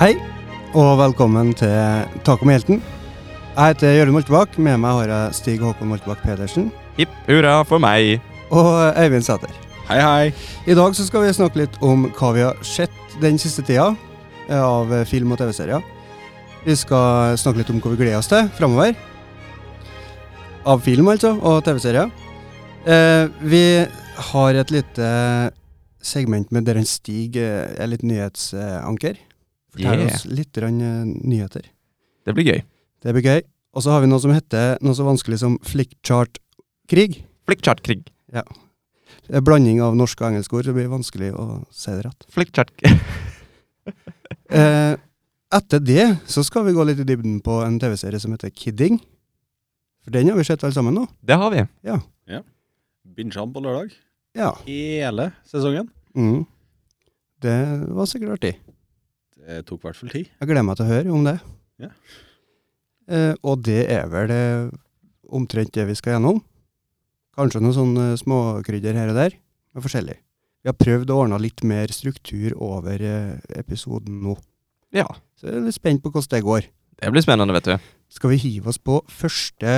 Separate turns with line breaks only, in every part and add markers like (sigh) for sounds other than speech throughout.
Hei, og velkommen til Taco med helten. Jeg heter Jørund Moltebakk. Med meg har jeg Stig Håkon Moltebakk Pedersen
Hipp hurra for meg.
og Øyvind Sæter.
Hei, hei.
I dag så skal vi snakke litt om hva vi har sett den siste tida eh, av film og TV-serier. Vi skal snakke litt om hva vi gleder oss til framover. Av film, altså, og TV-serier. Eh, vi har et lite segment med der en Stig eh, er litt nyhetsanker. Forteller
Yeah.
oss litt grann, eh, nyheter.
Det blir gøy.
Det blir gøy. Og så har vi noe som heter noe så vanskelig som flickchart-krig.
Flikkchartkrig.
Det er Blanding av norske og engelske ord, så det blir vanskelig å si det rett.
(laughs) Flikkchart...
Eh, etter det så skal vi gå litt i dybden på en TV-serie som heter Kidding. For den har vi sett alle sammen nå.
Det har vi.
Binge på lørdag.
Ja.
Hele sesongen.
Mm. Det var sikkert artig.
Det tok i hvert fall tid.
Jeg gleder meg til å høre om det.
Ja.
Eh, og det er vel det, omtrent det vi skal gjennom. Kanskje noen sånne eh, småkrydder her og der, men forskjellig. Vi har prøvd å ordne litt mer struktur over eh, episoden nå.
Ja.
Så jeg er litt spent på hvordan det går.
Det blir spennende, vet du.
Skal vi hive oss på første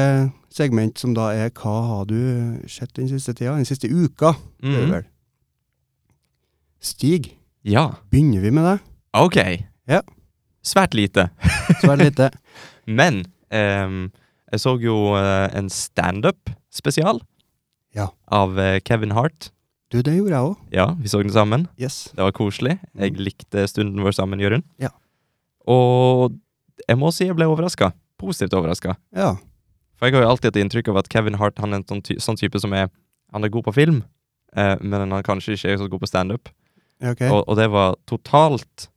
segment, som da er hva har du sett den siste tida? Den siste uka, det er det
Mhm.
vel. Stig,
Ja.
begynner vi med deg?
Ok.
Ja.
Svært lite.
Svært lite.
Men ehm, jeg så jo eh, en standup-spesial
Ja.
av eh, Kevin Hart.
Du, det gjorde jeg òg.
Ja, vi så den sammen.
Yes.
Det var koselig. Jeg likte stunden vår sammen, Jørund.
Mm. Ja.
Og jeg må si jeg ble overraska. Positivt overraska.
Ja.
For jeg har jo alltid et inntrykk av at Kevin Hart han er en sånn, ty sånn type som er Han er god på film, eh, men han er kanskje ikke er så god på standup.
ja, Ok.
Og, og det var totalt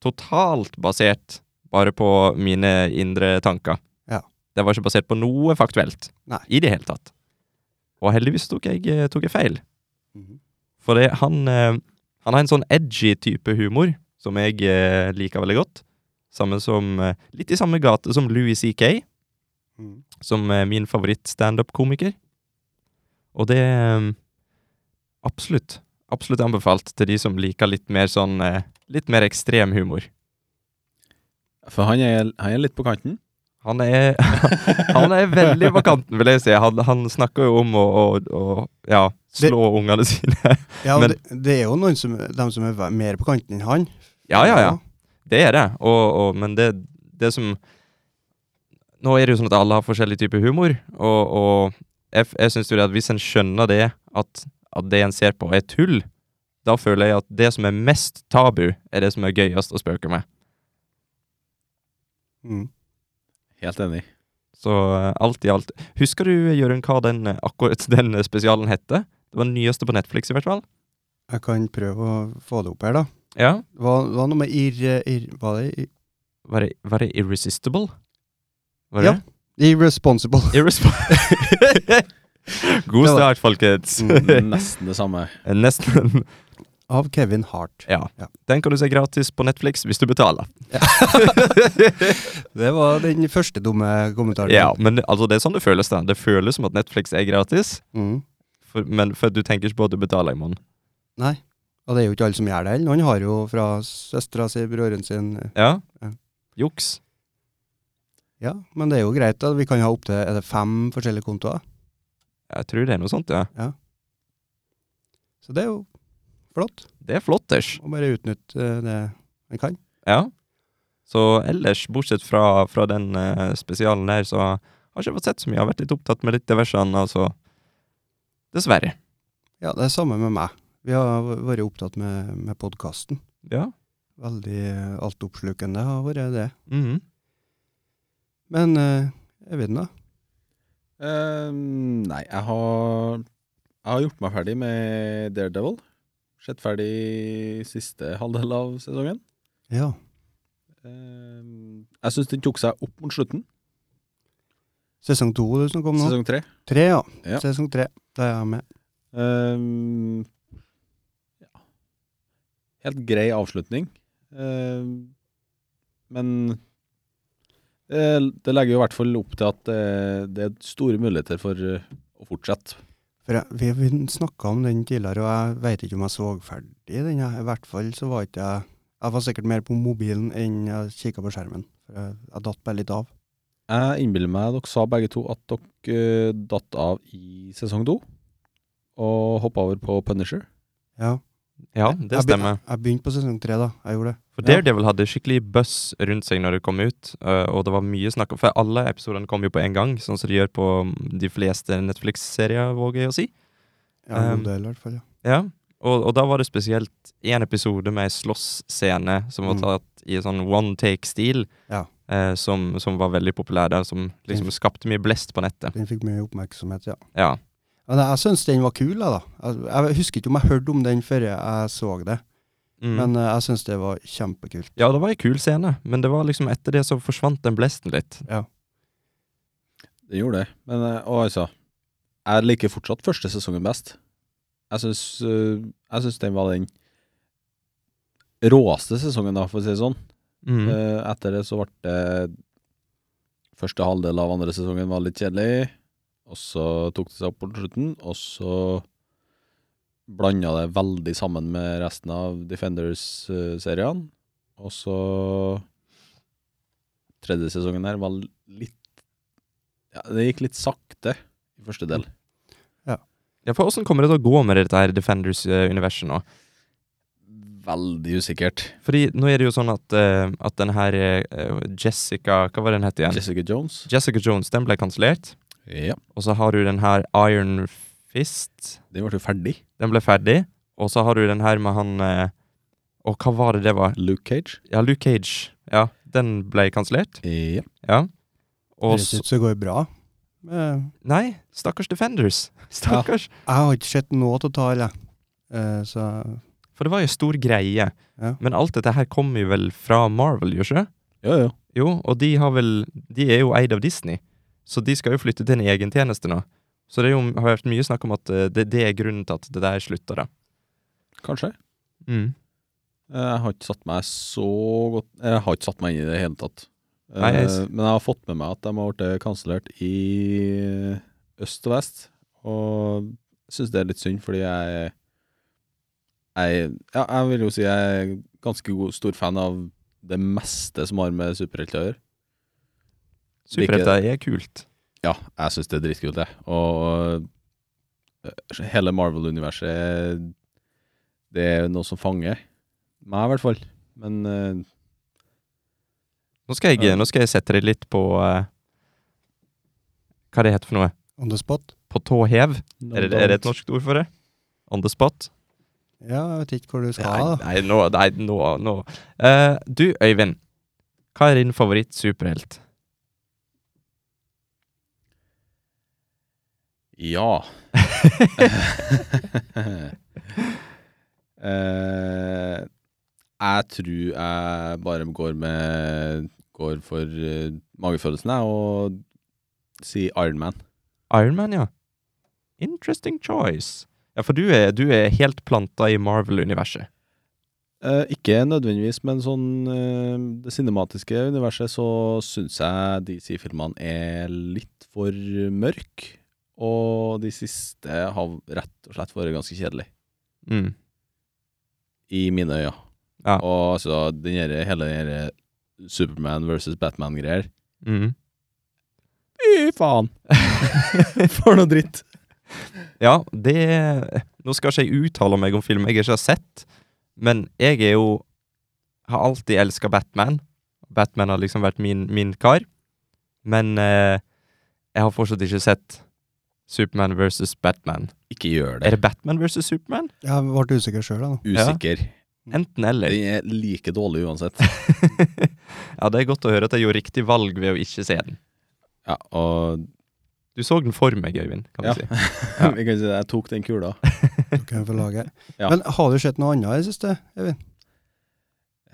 Totalt basert bare på mine indre tanker.
Ja.
Det var ikke basert på noe faktuelt
Nei.
i det hele tatt. Og heldigvis tok jeg, eh, tok jeg feil.
Mhm.
For det, han, eh, han har en sånn edgy type humor som jeg eh, liker veldig godt. Samme som, eh, litt i samme gate som Louis C.K
Mm.
som er min favoritt-standup-komiker. Og det eh, Absolutt. Absolutt anbefalt til de som liker litt mer sånn eh, Litt mer ekstrem humor.
For han er, han er litt på kanten.
Han er, (laughs) han er veldig på kanten, vil jeg si. Han, han snakker jo om å, å, å ja,
Det-
slå ungene sine.
ja og
men-
det, det er jo noen som, dem som er ve- mer på kanten enn han.
Ja, ja, ja. Det er det. Og, og, men det, det som Nå er det jo sånn at alle har forskjellig type humor, og, og jeg, f- jeg syns jo det at hvis en skjønner det, at, at det en ser på er tull, da føler jeg at det som er mest tabu, er det som er gøyest å spøke med.
Mm.
Helt enig.
Så eh, alt i alt Husker du, Jørund, hva den, eh, akkurat (laughs) den eh, spesialen hette? Det var den nyeste på Netflix, i hvert fall.
Jeg kan prøve å få det opp her, da.
Ja.
Hva, hva noe med ir... ir hva er det?
Var det, var det Irresistible? Var
Ja.
det? (laughs)
Irresponsible. (laughs)
Irresponsible. God
Det var- Mm.
start, folkens.
Nesten det samme.
Nesten.
(laughs) Av Kevin
(laughs)
Hart.
Ja.
Ja.
Den kan du se gratis på Netflix hvis du betaler.
(laughs) Det var den første dumme kommentaren.
Ja, men altså, det er sånn det føles. da. Det føles som at Netflix er gratis,
Mm.
for, men for du tenker ikke på at du betaler i måneden.
Nei. Og det er jo ikke alle som gjør det heller. Noen har jo fra søstera si, broren sin
Ja.
Ja.
Juks.
Ja, men det er jo greit. da. Vi kan ha opptil er det fem forskjellige kontoer.
Jeg tror det er noe sånt, ja.
Så det er jo flott.
Det er flotters.
Å bare utnytte eh, det en kan.
Ja. Så ellers, bortsett fra, fra den eh, spesialen der, så har jeg ikke fått sett så mye. Jeg har vært litt opptatt med litt diverse annet, altså. Dessverre.
Ja, det er samme med meg. Vi har v- vært opptatt med, med podkasten.
Ja.
Veldig eh, altoppslukende har vært det.
Mhm.
Men eh, Øyvind, da?
Eh, nei, jeg har Jeg har gjort meg ferdig med Daredevil. Sett ferdig siste halvdel av sesongen.
Ja.
Eh, jeg syns den tok seg opp mot slutten.
Sesong to du snakker om nå?
Sesong tre.
Tre, ja.
Ja.
Sesong tre. Da er jeg med.
Ehm, ja. Helt grei avslutning. Ehm, men det, det legger jo i hvert fall opp til at eh, det er store muligheter for eh, å fortsette.
For jeg, vi vi snakka om den tidligere, og jeg veit ikke om jeg så ferdig den. jeg. I hvert fall så var ikke jeg Jeg var sikkert mer på mobilen enn jeg kikka på skjermen. For jeg, jeg datt bare litt av.
Jeg innbiller meg dere sa begge to at dere eh, datt av i sesong to, og hoppa over på Punisher.
Ja,
Ja, det
jeg begy-
stemmer.
Jeg begynte på sesong tre, da. Jeg gjorde det.
For Daredevil hadde skikkelig buzz rundt seg når det kom ut, eh, og det var mye snakk om For alle episodene kom jo på en gang, sånn som de gjør på de fleste Netflix-serier, våger jeg å si.
Ja, en
Um,
god del, i hvert fall. Ja.
Ja, og, og da var det spesielt én episode med ei slåssscene som var
Mm.
tatt i sånn one take-stil,
Ja. Mm.
eh, som, som var veldig populær der, som liksom skapte mye blest på nettet.
Den fikk mye oppmerksomhet, ja.
Ja.
Men jeg syns den var kul, jeg, da. Jeg, jeg husker ikke om jeg hørte om den før jeg så det,
Mm.
men eh, jeg syns det var kjempekult.
ja, det var ei kul scene, men det var liksom etter det så forsvant den blesten litt.
Det gjorde det. Men eh, og altså Jeg liker fortsatt første sesongen best. Jeg syns, eh, jeg syns den var den råeste sesongen, da, for å si det sånn.
Mm.
Eh, etter det så ble det Første halvdel av andre sesongen var litt kjedelig, og så tok det seg opp på slutten, og så blanda det veldig sammen med resten av Defenders-seriene. Og så Tredje sesongen her var litt Ja, det gikk litt sakte i første del.
Ja, for åssen kommer det til å gå med dette her Defenders-universet nå?
Veldig usikkert.
Fordi nå er det jo sånn at, eh, at den her eh, Jessica Hva var den het igjen?
Jessica Jones.
Jessica Jones, den ble kansellert.
Ja,
Og så har du den her Iron Fist.
den ble jo ferdig.
Den ble ferdig, og så har du den her med han eh, Og hva var det det var?
Luke Cage.
Ja, Luke Cage. Ja, den ble kansellert.
Ja.
Ja. Og
Høres
så
ut som det går bra. Eh,
Nei, stakkars Defenders. Stakkars.
Jeg har ikke sett noe totalt, jeg. Eh, så
For det var jo en stor greie.
Ja.
Men alt dette her kommer jo vel fra Marvel, gjør ikke det?
Jo, jo.
Jo, og de har vel De er jo eid av Disney, så de skal jo flytte til en egen tjeneste nå. Så det er jo, har vært mye snakk om at eh, det, det er grunnen til at det der slutter, da.
Kanskje.
Mm.
Eh, Jeg har ikke satt meg så godt eh, Jeg har ikke satt meg inn i det i det hele tatt. Eh,
Nei, jeg s-
Men jeg har fått med meg at de har blitt kansellert i øst og vest. Og syns det er litt synd, fordi jeg jeg, ja, jeg vil jo si jeg er ganske god, stor fan av det meste som har med superhelter å gjøre.
Superhelter er kult.
Ja, jeg syns det er dritkult, det. Og eh, hele Marvel-universet Det er noe som fanger meg, i hvert fall. Men eh,
Nå skal jeg,
Ja.
nå skal jeg sette deg litt på eh, Hva det heter for noe?
on the spot?
På tå hev?
no
Er det, er det
doubt.
et norsk ord for det? On the spot?
Ja, jeg vet ikke hvor du skal, da.
Nei, nei, nå, nei, nå, nå. Eh, du, Øyvind. Hva er din favoritt-superhelt?
Ja. Eh, jeg tror jeg bare går med Går for eh, magefølelsen, jeg, og sier Iron Man.
Ironman, ja. Interesting choice. Ja, for du er, du er helt planta i Marvel-universet.
Eh, ikke nødvendigvis, men sånn eh, det cinematiske universet så syns jeg DC-filmene er litt for mørke. Og de siste har rett og slett vært ganske kjedelige.
Mm.
I mine øyne.
Ja.
Og altså, den her, hele den her Superman versus Batman-greier
Mm.
Fy faen!
(laughs)
For noe dritt.
Ja, det Nå skal ikke jeg uttale meg om film jeg ikke har sett, men jeg er jo Har alltid elska Batman. Batman har liksom vært min, min kar. Men eh, jeg har fortsatt ikke sett Superman versus Batman.
Ikke gjør
Er
det.
det Batman versus Superman?
Jeg ble usikker sjøl, jeg nå.
Usikker.
Enten eller.
Den er like dårlig uansett.
(laughs) ja, det er godt å høre at jeg gjorde riktig valg ved å ikke se den.
Ja, og
Du så den for meg, Øyvind, kan
Ja.
du si. (laughs) Ja.
jeg kan si det, jeg tok den kula.
Du kan få lage.
(laughs) Ja.
Men har du sett noe annet i det siste, Eivind?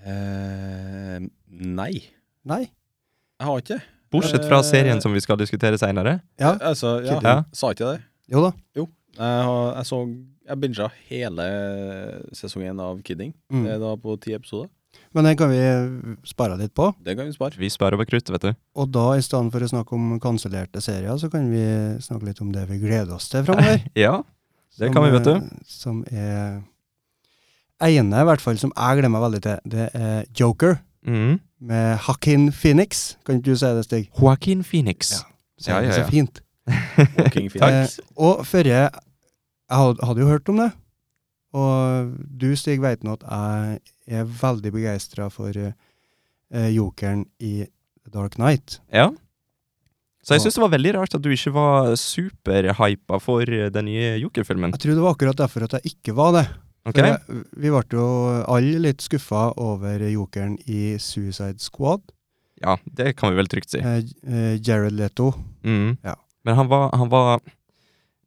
Eh, nei, jeg
Nei?
har ikke det.
Bortsett fra
Eh,
serien som vi skal diskutere seinere.
Ja?
Altså, ja,
Ja.
Sa ikke jeg det?
Jo da.
Jeg, har- jeg så Jeg binga hele sesongen av Kidding.
Mm.
Det er da på ti episoder.
Men den kan vi spare litt på.
Det kan
(laughs)
vi spare.
Vi sparer over kruttet, vet du.
Og da, i stedet for å snakke om kansellerte serier, så kan vi snakke litt om
(laughs)
det vi gleder oss til framover.
Ja, Det kan vi, vet du.
Som eh, er ene i hvert fall som jeg gleder meg veldig til, det er Joker
Mhm.
med Hakin Phoenix. Kan ikke du si det, Stig?
Joaquin Phoenix.
Ja.
Ja, ja,
Det er
ja.
Så fint.
Walking Phoenix.
Eh, og forrige Jeg hadde, hadde jo hørt om det. Og du, Stig, vet nå at jeg er veldig begeistra for eh, eh, jokeren i The Dark Knight.
Ja. Så jeg
Og-
syns det var veldig rart at du ikke var superhypa for eh, den nye Joker-filmen.
Jeg tror det var akkurat derfor at jeg ikke var det.
Ok?
For jeg, vi ble jo alle litt skuffa over jokeren i Suicide Squad.
Ja, det kan vi vel trygt si.
Eh, eh, Jared Leto.
Mhm.
Ja.
Men han var, han var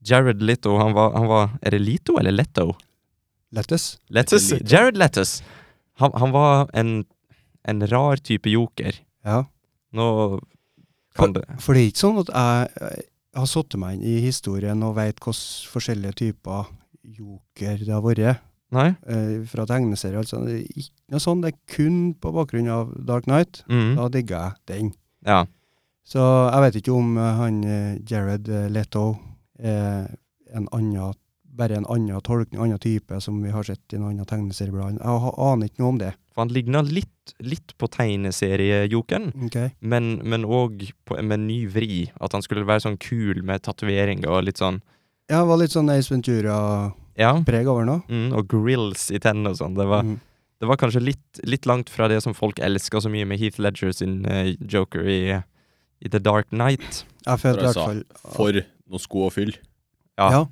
Jared Litto, han var, han var Er det Lito eller Letto?
Lettest.
Lettus?
Lito.
Jared Lettus. Han, han var en, en rar type joker.
Ja.
Nå kan det
For det er ikke sånn at jeg eh, har satt meg inn i historien og veit hvilke forskjellige typer joker det har vært.
Nei?
eh, fra tegneserier. Altså. Det er ikke noe sånn, det er kun på bakgrunn av Dark Knight.
Mhm.
Da digger jeg den.
Ja.
Så jeg vet ikke om eh, han eh, Jared eh, Leto er en annen, bare en annen tolkning, annen type, som vi har sett i en annen tegneserieblad. Jeg ha- aner ikke noe om det.
For han ligna litt, litt på tegneseriejokeren, men, men òg på- med en ny vri. At han skulle være sånn kul med tatoveringer og litt sånn
Ja, det var litt sånn Ace Ventura-preg
Ja.
over nå.
Mm, og grills i tennene og sånn. Det, var-
Mm.
det var kanskje litt, litt langt fra det som folk elska så mye med Heath Ledger sin eh, Joker i, i The Dark Knight.
Jeg følte i
Bra
hvert fall
For noen sko å fylle.
ja.
Ja,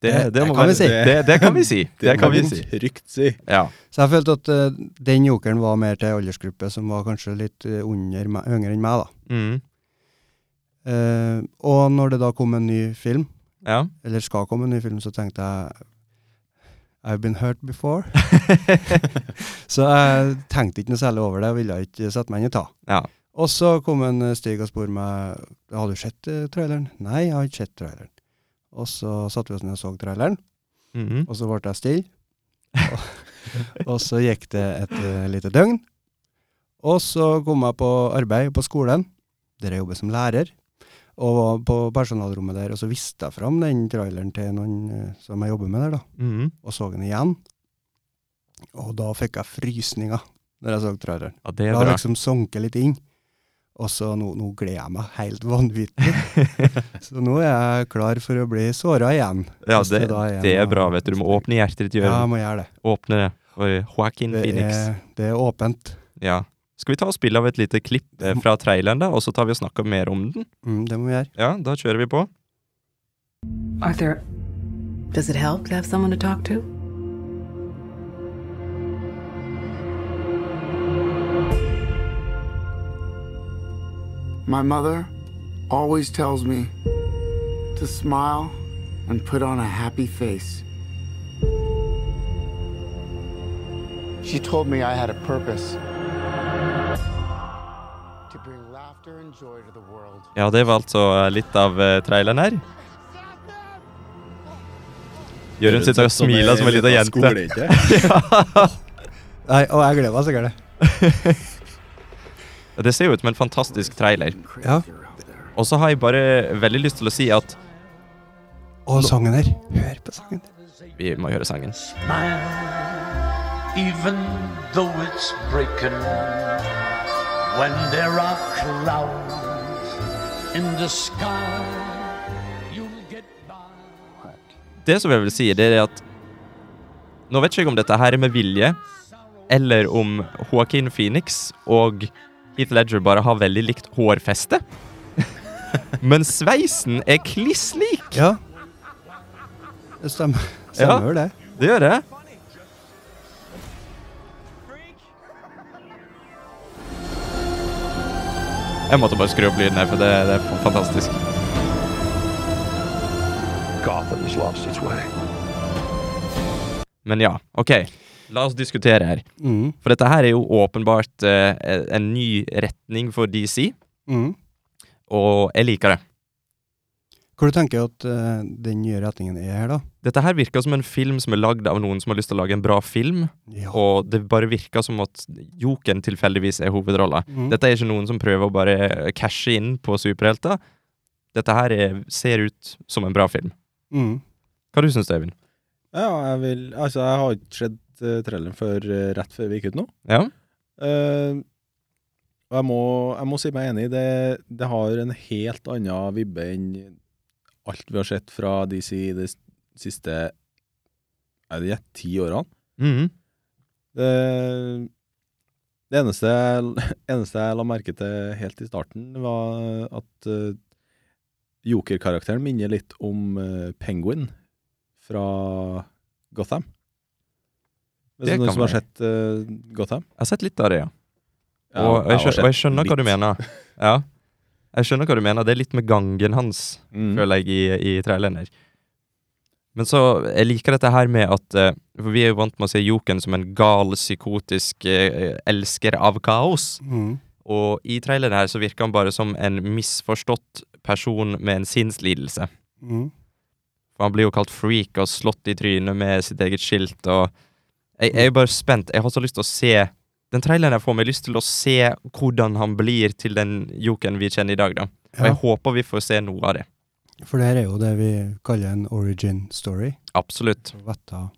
det-
det, det,
det
må
kan vi
være,
si.
Det, det kan vi
(laughs)
si. Det kan vi si.
trygt si.
Ja.
Så jeg følte at eh, den jokeren var mer til ei aldersgruppe som var kanskje litt eh, under meg, yngre enn meg, da.
Mm,
Eh, og når det da kom en ny film,
ja.
eller skal komme en ny film, så tenkte jeg I've been hurt before. så jeg tenkte ikke noe særlig over det, og ville ikke sette meg inn i ta.
Ja.
Og så kom en eh, Stig og spurte meg har du sett eh, traileren. Nei, jeg har ikke sett traileren. Og så satte vi oss ned og så traileren,
Mhm.
og så ble jeg stille. Og, og så gikk det et eh, lite døgn. Og så kom jeg på arbeid på skolen, der jeg jobber som lærer. Og var på personalrommet der, og så viste jeg fram den traileren til noen eh, som jeg jobber med der, da
Mhm.
og så den igjen. Og da fikk jeg frysninger når jeg så traileren.
Ja, det
Det
er
har
bra.
liksom sunket litt inn. Og så nå, nå gleder jeg meg helt vanvittig. så nå er jeg klar for å bli såra igjen.
Ja,
Hvis
det,
da igjen
det er
er-
bra, vet du. Du må åpne hjertet ditt.
Ja,
Gjøre.
jeg må gjøre det.
Åpne det. Oi, Joaquin
Det
Phoenix.
er, det er åpent.
Ja. Skal vi ta og spille av et lite klipp eh, fra traileren, da, og så tar vi og snakker mer om den?
Mm, det må vi gjøre.
Ja, da kjører vi på.
Arthur, does it help to have someone to talk to?
My mother always tells me to smile and put on a happy face. She told me I had a purpose to bring laughter and joy to the world.
Ja, det var altså eh, litt av eh, traileren her. Jørund sitter og
Sånn
smiler som en liten jente.
jente.
Nei, og jeg gleder meg sikkert det.
Ja, Det ser jo ut som en fantastisk trailer.
Ja.
Og så har jeg bare veldig lyst til å si at
Og sangen her. Hør på sangen.
Vi må høre sangen.
smile, even though it's breaking. When there are clouds in the sky, you'll get by.
Det som jeg vil si, det er at Nå vet ikke jeg om dette her er med vilje, eller om Joaquin Phoenix og Heath Ledger bare har veldig likt hårfeste. (laughs) Men sveisen er kliss lik!
Ja. Det stemmer.
Ja.
Stemmer det.
Det gjør det. Jeg måtte bare skru opp lyden her, for det, det er fantastisk.
Gotham's lost its way.
Men ja, OK. La oss diskutere her.
Mm.
For dette her er jo åpenbart eh, en ny retning for DC,
Mm.
og jeg liker det.
Hvor du tenker at eh, den nye retningen er her, da?
Dette her virker som en film som er lagd av noen som har lyst til å lage en bra film,
Ja.
og det bare virker som at Joken tilfeldigvis er hovedrolla.
Mm.
Dette er ikke noen som prøver å bare cashe inn på superhelter. Dette her er, ser ut som en bra film.
Mm.
Hva du syns du, Øyvind?
Ja, jeg vil Altså, jeg har ikke sett
eh, traileren før, eh, rett før vi gikk ut nå.
Ja.
Eh, og jeg må, jeg må si meg enig, det, det har en helt annen vibbe enn alt vi har sett fra DC de s- siste er det gjett, ti årene. Mm-hmm.
Mhm.
Det, det eneste, jeg- (laughs) eneste jeg la merke til helt i starten, var at eh, Joker-karakteren minner litt om eh, Penguin fra Gotham. Hvis
Det
det er
kan
noen som har
være.
sett eh, Gotham?
Jeg har sett litt av det, ja.
Ja,
og, jeg,
har
skjønner, og jeg
sett
skjønner hva du
litt.
mener.
(laughs)
Ja. Jeg skjønner hva du mener. Det er litt med gangen hans,
Mm.
føler jeg, i, i traileren her. Men så, jeg liker dette her med at eh, For vi er jo vant med å se Joken som en gal, psykotisk eh, elsker av kaos.
Mm.
Og i traileren her så virker han bare som en misforstått person med en sinnslidelse.
Mm.
For han blir jo kalt freak og slått i trynet med sitt eget skilt og Jeg, jeg er bare spent. Jeg har så lyst til å se Den traileren jeg får meg lyst til å se hvordan han blir til den jokeren vi kjenner i dag, da. Og
Ja.
jeg håper vi får se noe av det.
For det her er jo det vi kaller en origin story.
Absolutt.
Så vet jeg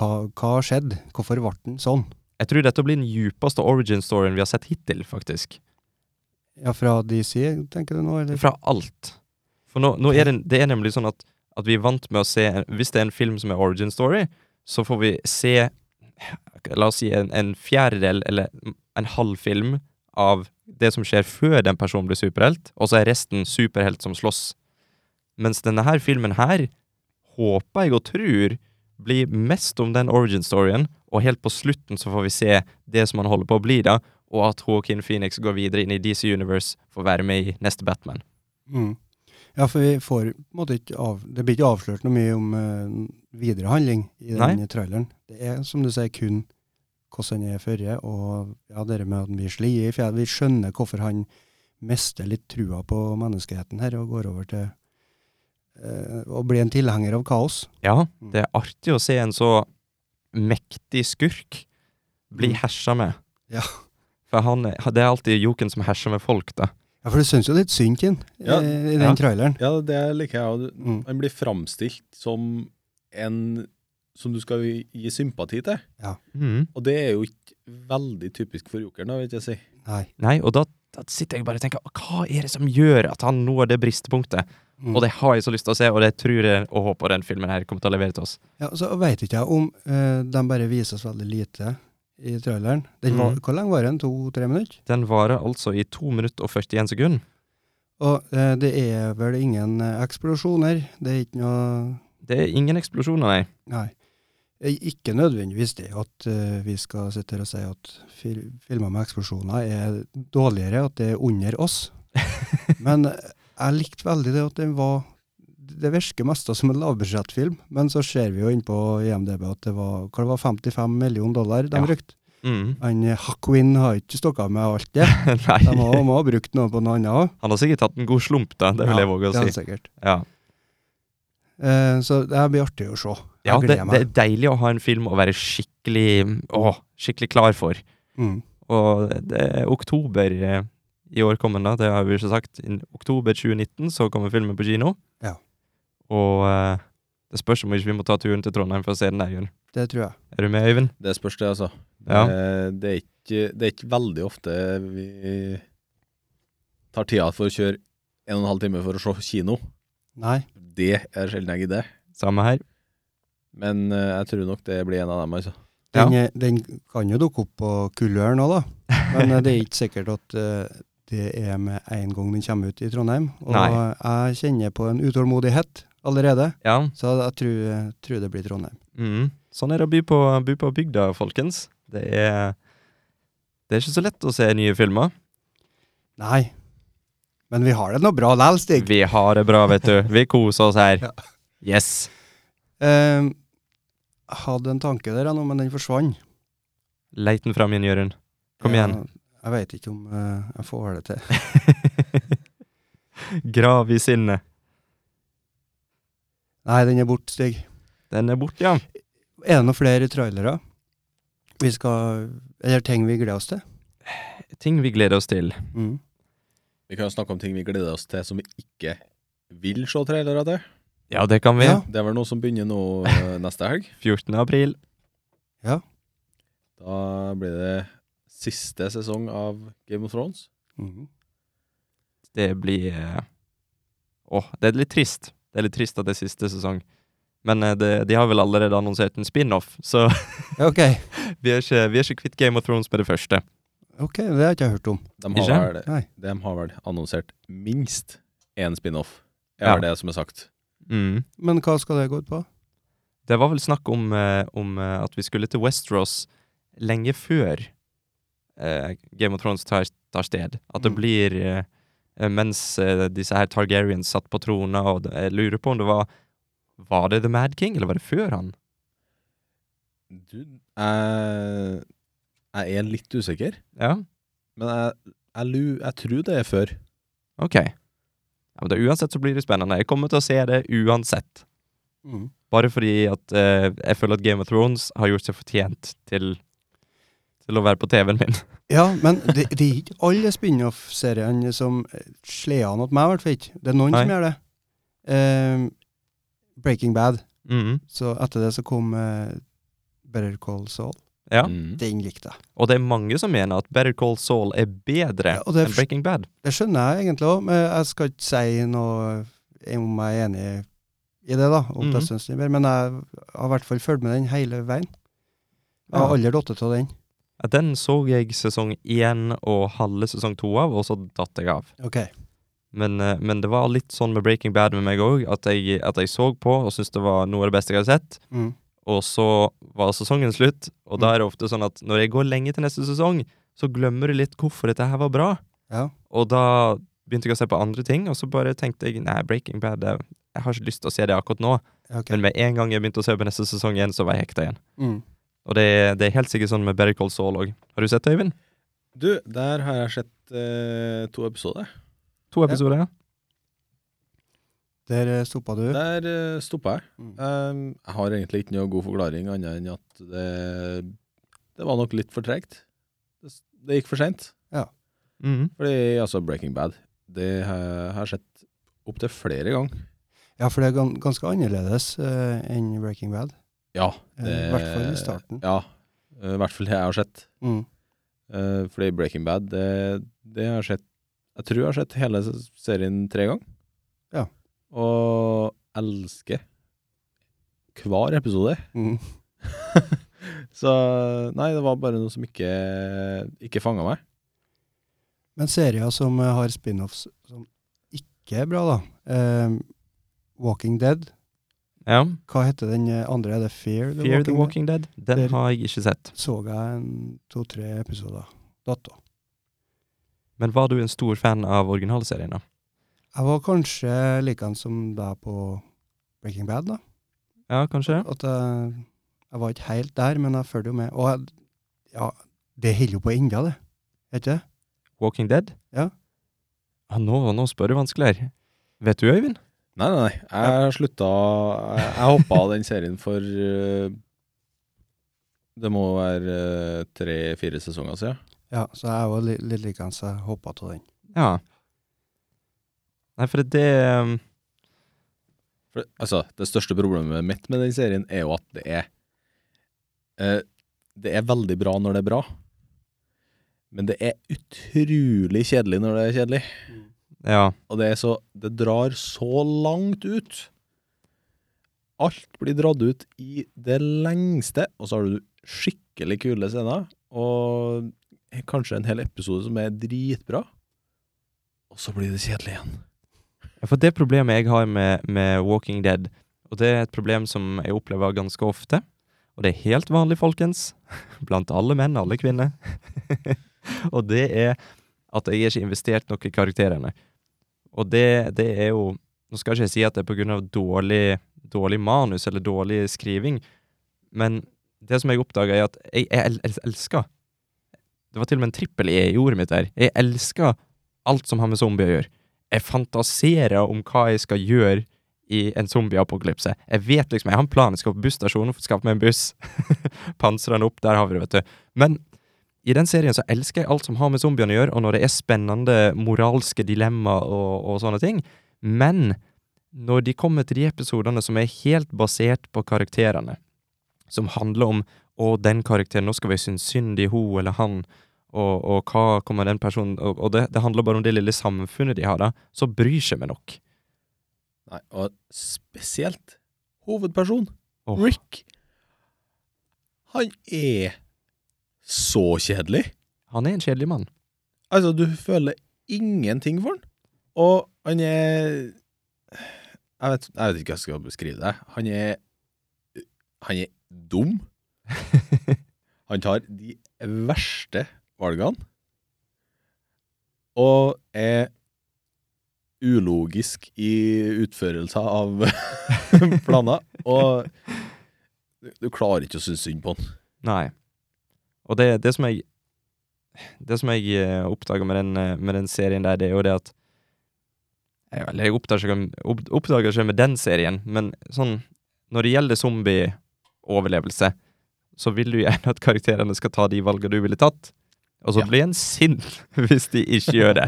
hva, hva har skjedd? Hvorfor ble den sånn?
Jeg tror dette blir den djupeste origin storyen vi har sett hittil, faktisk.
Ja, fra DC, tenker du nå? Eller?
Fra alt. For nå, nå er det, det er nemlig sånn at, at vi er vant med å se en- Hvis det er en film som er origin story, så får vi se La oss si en, en fjerdedel eller en halv film av det som skjer før den personen blir superhelt, og så er resten superhelt som slåss. Mens denne her filmen her håper jeg og tror blir mest om den origin storyen, og helt på slutten så får vi se det som han holder på å bli da, og at Joaquin Phoenix går videre inn i DC Universe for å være med i neste Batman.
Mm. Ja, for vi får på en måte ikke av, Det blir ikke avslørt noe mye om eh, videre handling i den
Nei.
traileren. Det er, som du sier, kun hvordan han er førre, og ja, det der med at han blir sliet i fjellet. Vi skjønner hvorfor han mister litt trua på menneskeheten her, og går over til eh, å bli en tilhenger av kaos.
Ja,
Mm.
det er artig å se en så mektig skurk bli
Mm.
hersa med.
Ja.
For han, er- det er alltid joken som herser med folk, da.
Ja, for du syns jo litt synd på ham
Ja,
i den
ja.
traileren.
Ja, det liker jeg. og
Mm.
Han blir framstilt som en som du skal gi sympati til.
Mm.
Og det er jo ikke veldig typisk for jokeren, da, vil jeg si.
Nei.
Nei, og da, da sitter jeg bare og tenker hva er det som gjør at han når det bristepunktet?
Mm.
Og det har jeg så lyst til å se, og det tror jeg og håper den filmen her kommer til å levere til oss.
Ja, så veit ikke jeg om eh, de bare vises veldig lite i traileren. Den var,
Mhm.
Hvor lenge var den? To-tre minutter?
Den varer altså i 2 minutter og 41 sekunder.
Og eh, det er vel ingen eh, eksplosjoner. Det er ikke noe
Det er ingen eksplosjoner, nei.
Nei. Eh, Ikke nødvendigvis det at eh, vi skal sitte her og si at fil filmer med eksplosjoner er dårligere, at det er under oss. Men eh, jeg likte veldig det at den var Det virker mest som en lavbudsjettfilm, men så ser vi jo innpå IMDb at det var, hva det var 55 millioner dollar de
Ja.
brukte.
Mm.
Han eh, Hakwin har ikke stokka med alt det.
(laughs) nei.
De må, må ha brukt noe på noe annet òg.
Han har sikkert tatt en god slump, da. Det vil jeg våge å si. Ja.
Eh, så det her blir artig å se. Jeg
Ja, det,
gleder
det
meg.
er deilig å ha en film å være skikkelig å, skikkelig klar for.
Mm.
Og det er oktober eh, i år kommer den, da. Det har vi jo ikke sagt. I oktober 2019 så kommer filmen på kino.
Ja.
Og eh, det spørs om ikke vi må ta turen til Trondheim for å se den der, Jørn.
Det tror jeg.
Er du med, Øyvind?
Det spørs, det, altså.
Ja.
Eh, Det, er ikke, det er ikke veldig ofte vi tar tida for å kjøre en og en halv time for å se kino.
Nei.
Det er sjelden jeg gidder.
Samme her.
Men eh, jeg tror nok det blir en av dem, altså.
Den, eh, den kan jo dukke opp på Kulløren òg, da. Men eh, det er ikke sikkert at eh, det er med en gang den kommer ut i Trondheim. Og
Nei.
jeg kjenner på en utålmodighet allerede,
Ja.
så jeg tror, eh, tror det blir Trondheim.
Mm. Sånn er det å by på, by på bygda, folkens. Det er Det er ikke så lett å se nye filmer.
Nei. Men vi har det nå bra likevel, Stig.
Vi har det bra, vet du. Vi koser oss her.
Ja.
Yes. Mm.
Eh, jeg hadde en tanke der, jeg nå, men den forsvant.
Leit den fram igjen, Jørund. Kom
Ja,
igjen.
Jeg veit ikke om eh, jeg får det til.
(laughs) Grav i sinnet.
Nei, den er borte, Stig.
Den er borte, ja.
Er det noen flere trailere vi skal Eller ting vi gleder oss til?
Ting vi gleder oss til.
Mm.
Vi kan jo snakke om ting vi gleder oss til som vi ikke vil se trailere til.
Ja, det kan vi.
Ja.
(laughs)
Det er vel noe som begynner nå eh, neste helg?
14. april.
Ja.
Da blir det siste sesong av Game of Thrones.
Mhm.
Det blir eh, Åh, det er litt trist. Det er litt trist at det er siste sesong. Men eh, det, de har vel allerede annonsert en spin-off, så (laughs)
Ja, OK.
vi er, ikke, vi er ikke kvitt Game of Thrones med det første.
Ok, Det har jeg ikke hørt om.
De
Ikke?
har, vel,
Nei.
de har vel annonsert minst én spin-off. Er
Ja.
det som er sagt.
Mm.
Men hva skal det gå ut på?
Det var vel snakk om, eh, om eh, at vi skulle til Westeros lenge før eh, Game of Thrones tar, tar sted. At det
Mm.
blir eh, eh, Mens eh, disse her Targaryens satt på trona, og det- jeg lurer på om det var Var det The Mad King, eller var det før han?
Du, jeg, jeg er litt usikker,
Ja,
men jeg, jeg, lu- jeg tror det er før.
OK. Ja, men det, uansett så blir det spennende. Jeg kommer til å se det uansett.
Mhm.
Bare fordi at eh, jeg føler at Game of Thrones har gjort seg fortjent til Til å være på TV-en min. (laughs)
Ja, men det, det er ikke alle spin-off-seriene som eh, slår an at meg, i hvert fall ikke. Det er noen
Nei.
som gjør det. Ehm, Breaking Bad.
Mhm.
Så etter det så kom eh, Better Call Saul.
Ja.
Mm.
Den likte jeg.
Og det er mange som mener at Better Call Saul er bedre
Ja, og det er
enn
for-
Breaking Bad.
Det skjønner jeg egentlig òg, men jeg skal ikke si noe om jeg er enig i det, da. Om
Mhm.
det syns jeg mer. Men jeg har i hvert fall fulgt med den hele veien. Jeg har
Ja.
aldri datt av den.
Ja, Den så jeg sesong én og halve sesong to av, og så datt jeg av.
Ok.
Men, eh, men det var litt sånn med Breaking Bad med meg òg, at, jeg- at jeg så på og syntes det var noe av det beste jeg hadde sett.
Mm.
Og så var sesongen slutt, og da
Mm.
er det ofte sånn at når jeg går lenge til neste sesong, så glemmer du litt hvorfor dette her var bra.
Ja.
Og da begynte jeg å se på andre ting, og så bare tenkte jeg nei, Breaking Bad, det- jeg har ikke lyst til å se det akkurat nå.
Ok.
Men med en gang jeg begynte å se på neste sesong igjen, så var jeg hekta igjen.
Mm.
Og det, er- det er helt sikkert sånn med Better Call Saul òg. Har du sett det, Øyvind?
Du, der har jeg sett eh, to episoder.
To episoder, ja.
Der eh, stoppa du.
Der uh, stoppa jeg.
Mm.
Um, jeg har egentlig ikke noe god forklaring annet enn at det, det var nok litt for tregt. Det, s- det gikk for seint.
Mhm.
Fordi altså, Breaking Bad Det har har jeg sett opptil flere ganger.
Ja, for det er gan ganske annerledes eh, enn Breaking Bad.
Ja.
Eh, I hvert fall i starten.
Ja. eh, I hvert fall det jeg har sett.
Mm.
Eh, fordi Breaking Bad, det, det har jeg sett Jeg tror jeg har sett hele s- serien tre ganger.
Ja.
Og elsker hver episode.
Mm.
Så nei, det var bare noe som ikke, ikke fanga meg.
Men serier som eh, har spin-offs som ikke er bra, da. Eh, Walking Dead.
ja.
Hva heter den eh, andre? Er det Fear the
Fear
Walking,
the Walking Dead. Den
Der-
har jeg ikke sett.
Dead? Så jeg en to-tre episoder. Dato.
Men var du en stor fan av originalserien, da?
Jeg var kanskje likeens som deg på Breaking Bad, da.
Ja, kanskje?
At jeg, jeg var ikke helt der, men jeg fulgte jo med. Og jeg, ja, det holder jo på ennå, det. Er ikke det?
Walking Dead?
Ja.
Ah, nå, nå spør du vanskelig her. Vet du, Øyvind?
Nei, nei, nei. Jeg slutta Jeg, jeg hoppa av den serien for eh, Det må være tre-fire sesonger siden.
Ja, så jeg var li litt likeens. Jeg hoppa av den.
Ja. Nei, for det um,
For, altså, det største problemet mitt med den serien er jo at det er eh, Det er veldig bra når det er bra, men det er utrolig kjedelig når det er kjedelig.
Ja.
Og det er så Det drar så langt ut. Alt blir dratt ut i det lengste, og så har du skikkelig kule scener, og kanskje en hel episode som er dritbra, og så blir det kjedelig igjen.
Ja, For det problemet jeg har med, med Walking Dead, og det er et problem som jeg opplever ganske ofte, og det er helt vanlig, folkens, (laughs) blant alle menn, alle kvinner, (laughs) og det er at jeg er ikke investert nok i karakterene. Og det, det er jo Nå skal ikke jeg si at det er pga. Dårlig, dårlig manus eller dårlig skriving, men det som jeg oppdaga, er at jeg, jeg el el elsker Det var til og med en trippel E i ordet mitt der. Jeg elsker alt som har med zombier å gjøre jeg fantaserer om hva jeg skal gjøre i en zombieapokalypse. Jeg vet liksom, jeg har en plan, jeg skal på busstasjonen og skaffe meg en buss. (laughs) Pansre den opp, der har vi det, vet du. Men i den serien så elsker jeg alt som har med zombiene å gjøre, og når det er spennende moralske dilemmaer og, og sånne ting. Men når de kommer til de episodene som er helt basert på karakterene, som handler om Å, den karakteren, nå skal vi synes synd i hun eller han, og, og hva kommer den personen Og, og det, det handler bare om det lille samfunnet de har, da. Så bryr seg meg nok.
Nei, og spesielt hovedperson,
Åh.
Rick. Han er så kjedelig.
Han er en kjedelig mann. (laughs)
Altså, du føler ingenting for han. Og han er Jeg vet, jeg vet ikke hva jeg skal beskrive det. Han er Han er dum. han tar de verste valgene. Og er ulogisk i utførelser av (laughs) planer. Og du, du klarer ikke å synes synd på han.
Nei. Og det, det som jeg Det som jeg eh, oppdager med den, eh, med den serien der, det er jo det at jeg, Eller jeg oppdager ikke, opp, oppdager ikke med den serien, men sånn Når det gjelder zombieoverlevelse, så vil du gjerne at karakterene skal ta de valgene du ville tatt, og så
Ja.
blir en sint (laughs) hvis de ikke gjør det.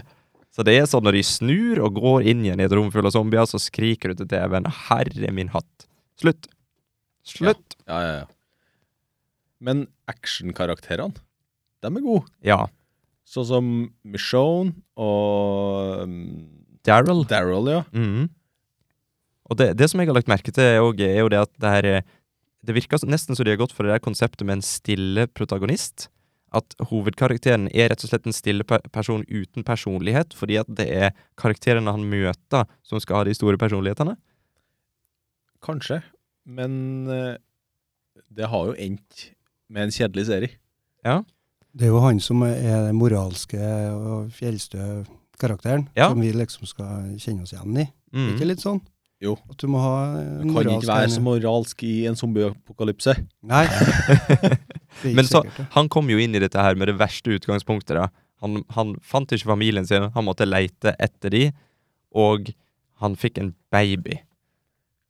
Så det er sånn når de snur og går inn igjen i et rom fullt av zombier, så skriker du til TV-en 'Herre min hatt'. Slutt. Slutt.
Ja, ja, ja. Men actionkarakterene, de er gode.
Ja.
Sånn som Michonne og um,
Daryl
Daryl, ja.
Mhm. Og det, det som jeg har lagt merke til, er jo- er jo det at det her eh, Det virker så- nesten som de har gått for det der konseptet med en stille protagonist. At hovedkarakteren er rett og slett en stille pe- person uten personlighet, fordi at det er karakterene han møter, som skal ha de store personlighetene.
Kanskje. Men eh, det har jo endt med en kjedelig serie.
Det er jo han som er den moralske og fjellstø karakteren,
Ja.
som vi liksom skal kjenne oss igjen i.
Mhm. (laughs)
Ikke litt sånn?
Jo.
At du må ha en
Kan ikke
moralsk
være
tegning.
så moralsk i en zombieapokalypse.
Nei.
(laughs)
Det er
Men
ikke
så-
sikkert, det.
Han kom jo inn i dette her med det verste utgangspunktet. Da. Han, han fant ikke familien sin, han måtte leite etter de, og han fikk en baby.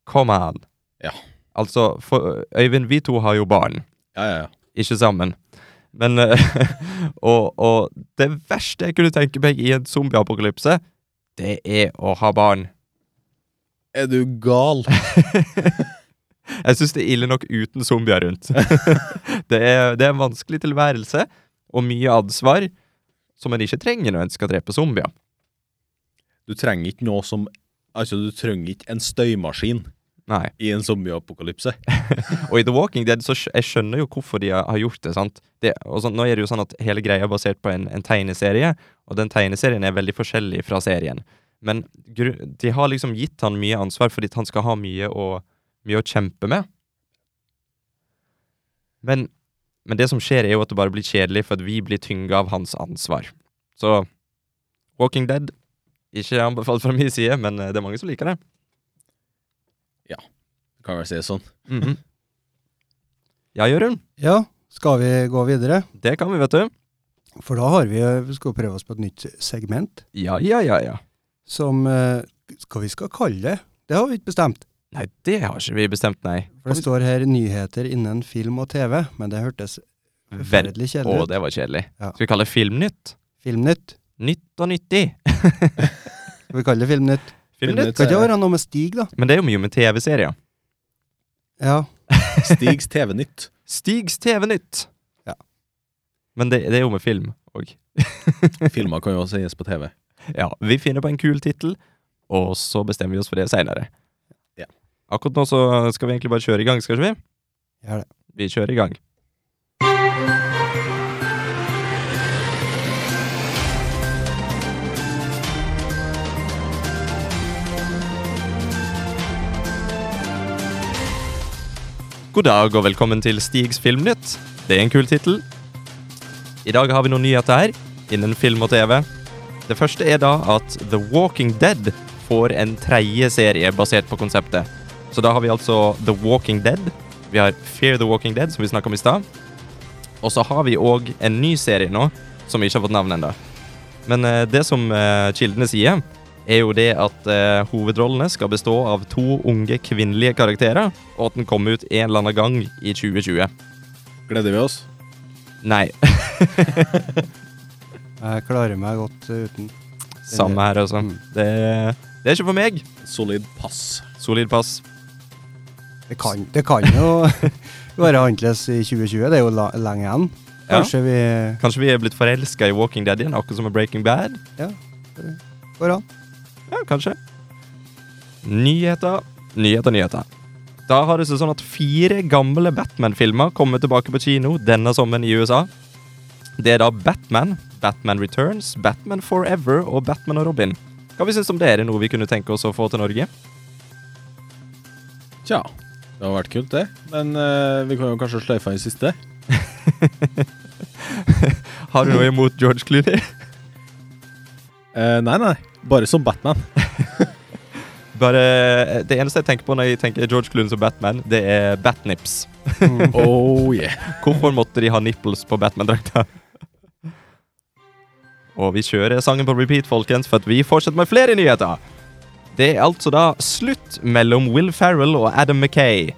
Kom an!
Ja.
Altså, for, Øyvind, vi to har jo barn,
Ja, ja, ja.
ikke sammen. Men (laughs) eh, og, og det verste jeg kunne tenke meg i en zombieapokalypse, det er å ha barn.
Er du gal?
Jeg syns det er ille nok uten zombier rundt. (laughs) det, er, det er en vanskelig tilværelse og mye ansvar som en ikke trenger når en skal drepe zombier.
Du trenger ikke noe som Altså, du trenger ikke en støymaskin
Nei.
i en zombieapokalypse.
Og i The Walking Dead så skj- jeg skjønner jo hvorfor de har har gjort det. sant? Det, og sånn- nå er det jo sånn at Hele greia er basert på en, en tegneserie, og den tegneserien er veldig forskjellig fra serien. Men gru, de har liksom gitt han mye ansvar fordi at han skal ha mye å, mye å kjempe med. Men, men det som skjer, er jo at det bare blir kjedelig, for at vi blir tynga av hans ansvar. Så Walking Dead ikke anbefalt fra min side, men eh, det er mange som liker det.
Kan vel si det sånn.
Mhm. Ja, Jørund.
Ja, skal vi gå videre?
Det kan vi, vet du.
For da har vi, vi skal prøve oss på et nytt segment,
Ja, ja, ja, ja.
som eh, Hva vi skal kalle det? Det har vi ikke bestemt.
Nei, det har ikke vi bestemt, nei.
For det står her 'nyheter innen film og TV', men det hørtes
Vel,
forferdelig
å,
kjedelig ut.
det var kjedelig.
Ja.
Skal vi kalle det Filmnytt?
Filmnytt.
Nytt og nyttig.
Skal vi kalle det Filmnytt?
Filmnytt. eh,
Filmnytt.
Kan ikke det være noe med Stig, da?
Men det er jo mye med TV-serier.
Ja.
Stigs TV-nytt.
Stigs TV-nytt.
Ja.
Men det, det er jo med film òg.
Filmer kan jo også sies på TV.
Ja, vi finner på en kul tittel, og så bestemmer vi oss for det seinere.
Ja.
Akkurat nå så skal vi egentlig bare kjøre i gang, skal ikke vi?
Gjør det.
Vi kjører i gang. God dag og velkommen til Stigs Filmnytt. Det er en kul tittel. I dag har vi noen nyheter her innen film og TV. Det første er da at The Walking Dead får en tredje serie basert på konseptet. Så da har vi altså The Walking Dead, vi har Fear the Walking Dead, som vi snakka om i stad. Og så har vi òg en ny serie nå, som vi ikke har fått navn ennå. Men eh, det som eh, kildene sier, er jo det at eh, hovedrollene skal bestå av to unge kvinnelige karakterer, og at den kommer ut en eller annen gang i 2020.
Gleder vi oss?
Nei, (laughs)
Jeg klarer meg godt eh, uten.
samme her, altså.
Mm.
Det, det er ikke for meg.
Solid pass.
Solid pass.
Det kan, det kan jo (laughs) være annerledes i 2020. Det er jo la, lenge igjen.
Ja.
Kanskje vi
Kanskje vi er blitt forelska i Walking Dead igjen, akkurat som i Breaking Bad?
går an.
Ja, kanskje. Nyheter, nyheter, nyheter. Da har det seg sånn at fire gamle Batman-filmer kommer tilbake på kino denne sommeren i USA. Det er da Batman, Batman Returns, Batman Forever og Batman og Robin. Hva vi synes om det? Er det noe vi kunne tenke oss å få til Norge?
Tja, det har vært kult, det. Men eh, vi kan jo kanskje sløyfe den siste.
Har du noe imot George Clooney?
Eh, nei, nei. Bare som Batman.
Bare, eh, det eneste jeg tenker på når jeg tenker George Clooney som Batman, det er Batnips.
Oh yeah.
Hvorfor måtte de ha nipples på Batman-drakta? Og vi kjører sangen på repeat, folkens, for at vi fortsetter med flere nyheter. Det er altså da slutt mellom Will Ferrell og Adam McKay.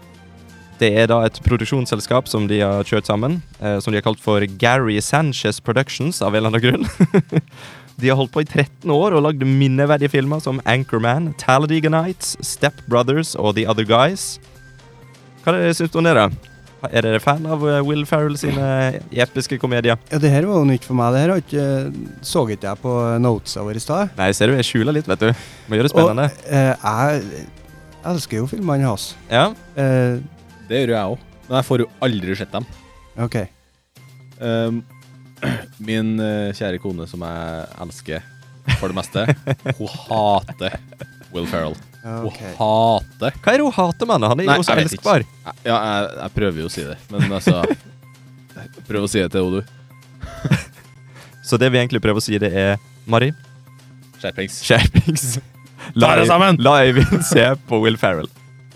Det er da et produksjonsselskap som de har kjørt sammen, eh, som de har kalt for Gary Sanchez Productions, av en eller annen grunn. (laughs) de har holdt på i 13 år og lagd minneverdige filmer som Anchorman, Talladega Nights, Step Brothers og The Other Guys. Hva er det- syns du om det, da? Er dere fan av eh, Will Ferrell sine episke komedier?
Ja, det her var jo nytt for meg. Det her har ikke, så ikke jeg på notesa våre i stad.
Nei, ser du, jeg skjuler litt, vet du. Må gjøre det
Og
spennende.
eh, jeg elsker jo filmene hans.
Ja.
Eh,
Det gjør jo jeg òg. Men jeg får jo aldri sett dem.
OK.
Um, (clears throat) min eh, kjære kone, som jeg elsker for det meste, hun hater Will Ferrell.
Ja,
Hun
ok.
hater
Hva er det hun hater med han? Han er
Nei,
jo så
jeg vet
elskbar.
Ja, jeg, jeg prøver jo å si det, men altså Prøv å si det til henne, du.
Så det vi egentlig prøver å si, det er Mari,
Skjerpings.
skjerpings.
Ta dere sammen!
La Øyvind se på Will Ferrell.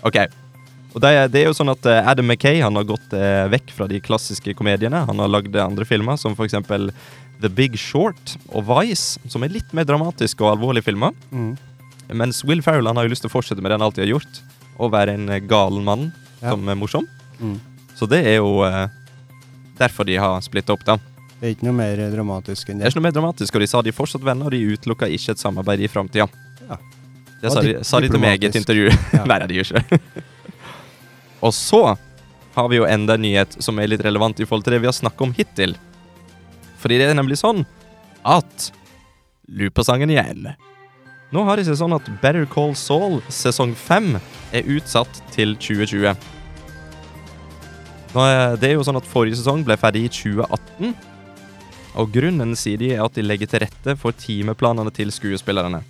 OK. Og det, er- det er jo sånn at eh, Adam McKay han har gått eh, vekk fra de klassiske komediene. Han har lagd andre filmer, som for eksempel The Big Short og Vice, som er litt mer dramatiske og alvorlige filmer.
Mm.
Mens Will Ferrell han har jo lyst til å fortsette med det han alltid har gjort. Å være en eh, gal mann
Ja.
som er morsom.
Mm.
Så det er jo eh, derfor de har splitta opp, da.
Det er ikke noe mer dramatisk enn
Det er
det.
ikke noe mer dramatisk, og de sa de er fortsatt venner, og de utelukka ikke et samarbeid i framtida.
Ja.
Det
Og
sa de,
di-
sa de til meg i et
diplomatisk.
intervju.
Ja.
(laughs) Nei, nei, de gjør ikke det. Og så har vi jo enda en nyhet som er litt relevant i forhold til det vi har snakka om hittil. Fordi det er nemlig sånn at Loopersangen igjen. Nå har det seg sånn at Better Call Saul sesong 5 er utsatt til 2020. Nå er det er jo sånn at Forrige sesong ble ferdig i 2018. Og Grunnen sier de er at de legger til rette for timeplanene til skuespillerne.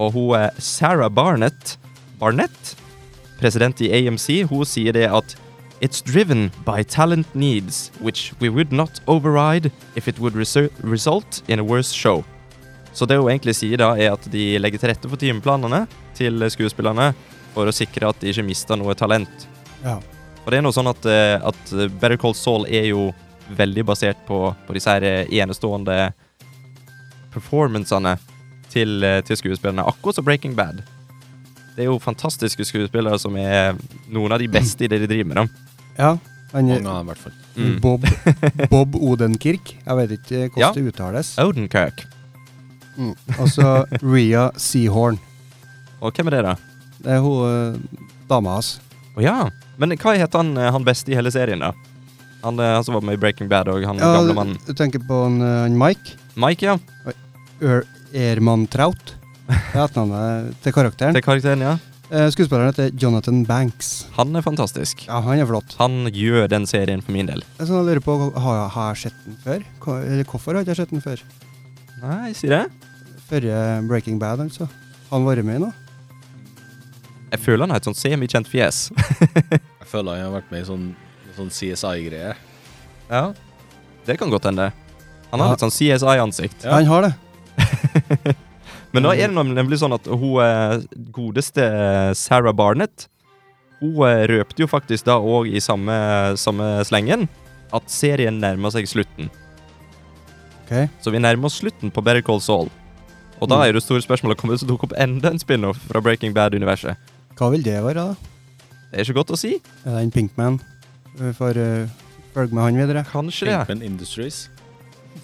Og hun er Sarah Barnett, Barnett, president i AMC, hun sier det at It's driven by talent needs, which we would not override if it would resu- result in a worse show. Så det hun egentlig sier da, er at de legger til rette for timeplanene til skuespillerne for å sikre at de ikke mister noe talent.
Ja.
Og det er noe sånn at, eh, at Better Call Saul er jo veldig basert på, på disse her eh, enestående performancene til, eh, til skuespillerne, akkurat som Breaking Bad. Det er jo fantastiske skuespillere som er noen av de beste i det de driver med. Da.
ja. Han,
Mange av dem, i hvert fall.
Mm.
Bob, Bob Odenkirk. Jeg vet ikke hvordan
Ja.
det uttales.
Odenkirk.
Mm. Og så Rhea Seahorn.
Og hvem er det, da?
Det er hun eh, dama hans.
Å ja. Men hva het han, eh, han beste i hele serien, da? Han, eh, han som var med i Breaking Bad og han
Ja,
Mm, gamle mannen.
du du tenker på han, eh, han Mike?
Mike, ja.
Er Erman
(laughs)
Traut. Det er etternavnet til karakteren.
Til karakteren, ja.
Eh, Skuespilleren heter Jonathan Banks.
Han er fantastisk.
Ja, han er flott.
Han gjør den serien for min del.
Jeg sånn, jeg lurer på, har jeg, har jeg sett den før? Hva- Eller hvorfor har jeg ikke sett den før?
Nei, si det.
Førre Breaking Bad, altså. Har han vært med i noe?
Jeg føler han har et sånn semikjent fjes.
Jeg føler jeg har vært med i sånn, sånn CSI-greier.
Ja. Det kan godt hende. Han har
Ja.
litt sånn CSI-ansikt.
Ja.
Han har det.
Men nå er det nem- nemlig sånn at hun eh, godeste eh, Sarah Barnett Hun eh, røpte jo faktisk da òg i samme, samme slengen at serien nærmer seg slutten.
Ok.
Så vi nærmer oss slutten på Better Call Saul. Og da
Mm.
er det store spørsmålet kommer det til å dukke opp enda en spin-off fra Breaking Bad-universet.
Hva vil det være, da?
Det er ikke godt å si.
Er det en Pinkman? Vi får eh, følge med han videre.
Kanskje det.
Pinkman Industries.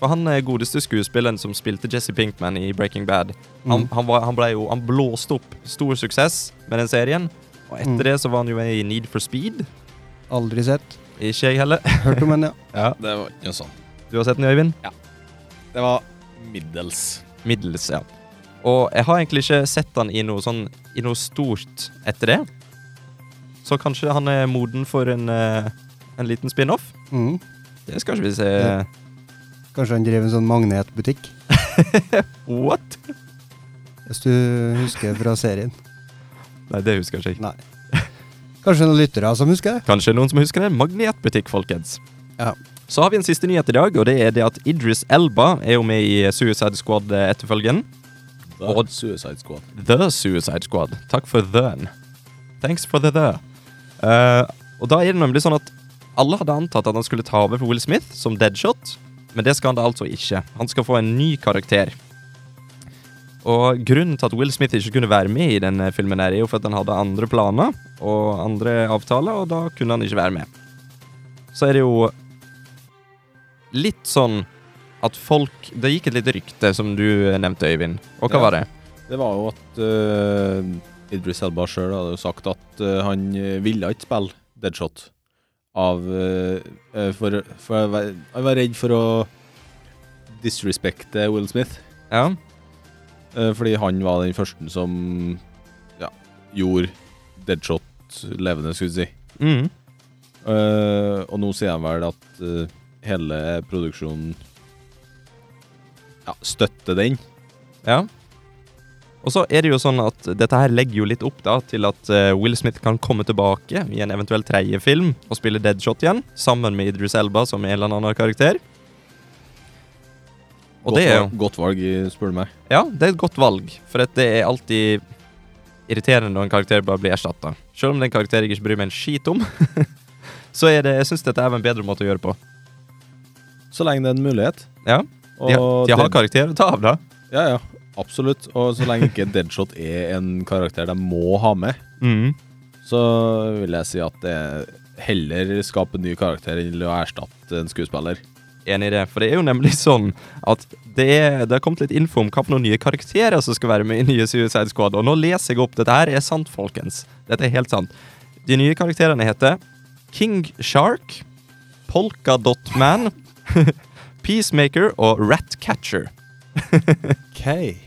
For han er godeste skuespilleren som spilte Jesse Pinkman i Breaking Bad. Han,
Mm.
han, var, han ble jo Han blåste opp stor suksess med den serien, Og etter
Mm.
det så var han jo med i Need for Speed.
Aldri sett.
Ikke jeg heller. (laughs)
Hørt om den, ja.
Det var ikke noe sånt.
Du har sett den, Øyvind?
Det var middels.
Middels, ja. Og jeg har egentlig ikke sett han i noe sånn I noe stort etter det. Så kanskje han er moden for en, eh, en liten spin-off?
Mm.
Det skal ikke vi se.
Ja. Kanskje han driver en sånn magnetbutikk,
What?
hvis du husker fra serien.
Nei, det husker jeg ikke.
Nei. Kanskje noen lyttere som husker det?
Kanskje noen som husker det? Magnetbutikk, folkens.
Ja.
Så har vi en siste nyhet i dag, og det er det at Idris Elba er jo med i Suicide eh, Squad-etterfølgen.
Da-
Og-
Suicide Squad.
The Suicide Squad. Takk for the-en. Thanks for the the. Eh, og da er det nemlig sånn at alle hadde antatt at han skulle ta over for Will Smith som deadshot, men det skal han da altså ikke. Han skal få en ny karakter. Og grunnen til at Will Smith ikke kunne være med i denne filmen, her er jo for at han hadde andre planer og andre avtaler, og da kunne han ikke være med. Så er det jo litt sånn at folk Det gikk et lite rykte, som du eh, nevnte, Øyvind. Og hva
Ja.
var det?
Det var jo at eh, Idris Elba sjøl hadde jo sagt at eh, han eh, ville ikke spille Deadshot. Av eh, eh, For, for jeg, var, jeg var redd for å disrespekte Will Smith.
Ja.
eh, fordi han var den første som ja, gjorde Deadshot levende, skulle vi si.
Mm.
Eh, og nå sier han vel at eh, hele produksjonen ja, støtter den.
Ja. Og så er det jo sånn at dette her legger jo litt opp da til at eh, Will Smith kan komme tilbake i en eventuell tredje film og spille Deadshot igjen, sammen med Idris Elba som en eller annen karakter. Og
godt,
det er jo
valg, godt valg, spør du meg.
Ja, det er et godt valg, for at det er alltid irriterende når en karakter bare blir erstatta. Selv om det er en karakter jeg ikke bryr meg en skit om, (laughs) så er det, jeg syns dette er en bedre måte å gjøre på.
Så lenge det er en mulighet.
Ja, De,
Og
de har
Dead-
karakter å ta av, da.
Ja, ja. Absolutt. Og så lenge ikke Deadshot er en karakter de må ha med,
Mm.
så vil jeg si at det er heller skape en ny karakter enn å erstatte en skuespiller.
enig i det. For det er jo nemlig (laughs) sånn at det, er, det har kommet litt info om hva for noen nye karakterer som skal være med i nye Suicide Squad. Og nå leser jeg opp. Dette her er sant, folkens. Dette er helt sant. De nye karakterene heter King Shark, Polkadot-Man, (laughs) Peacemaker og Ratcatcher.
Okay.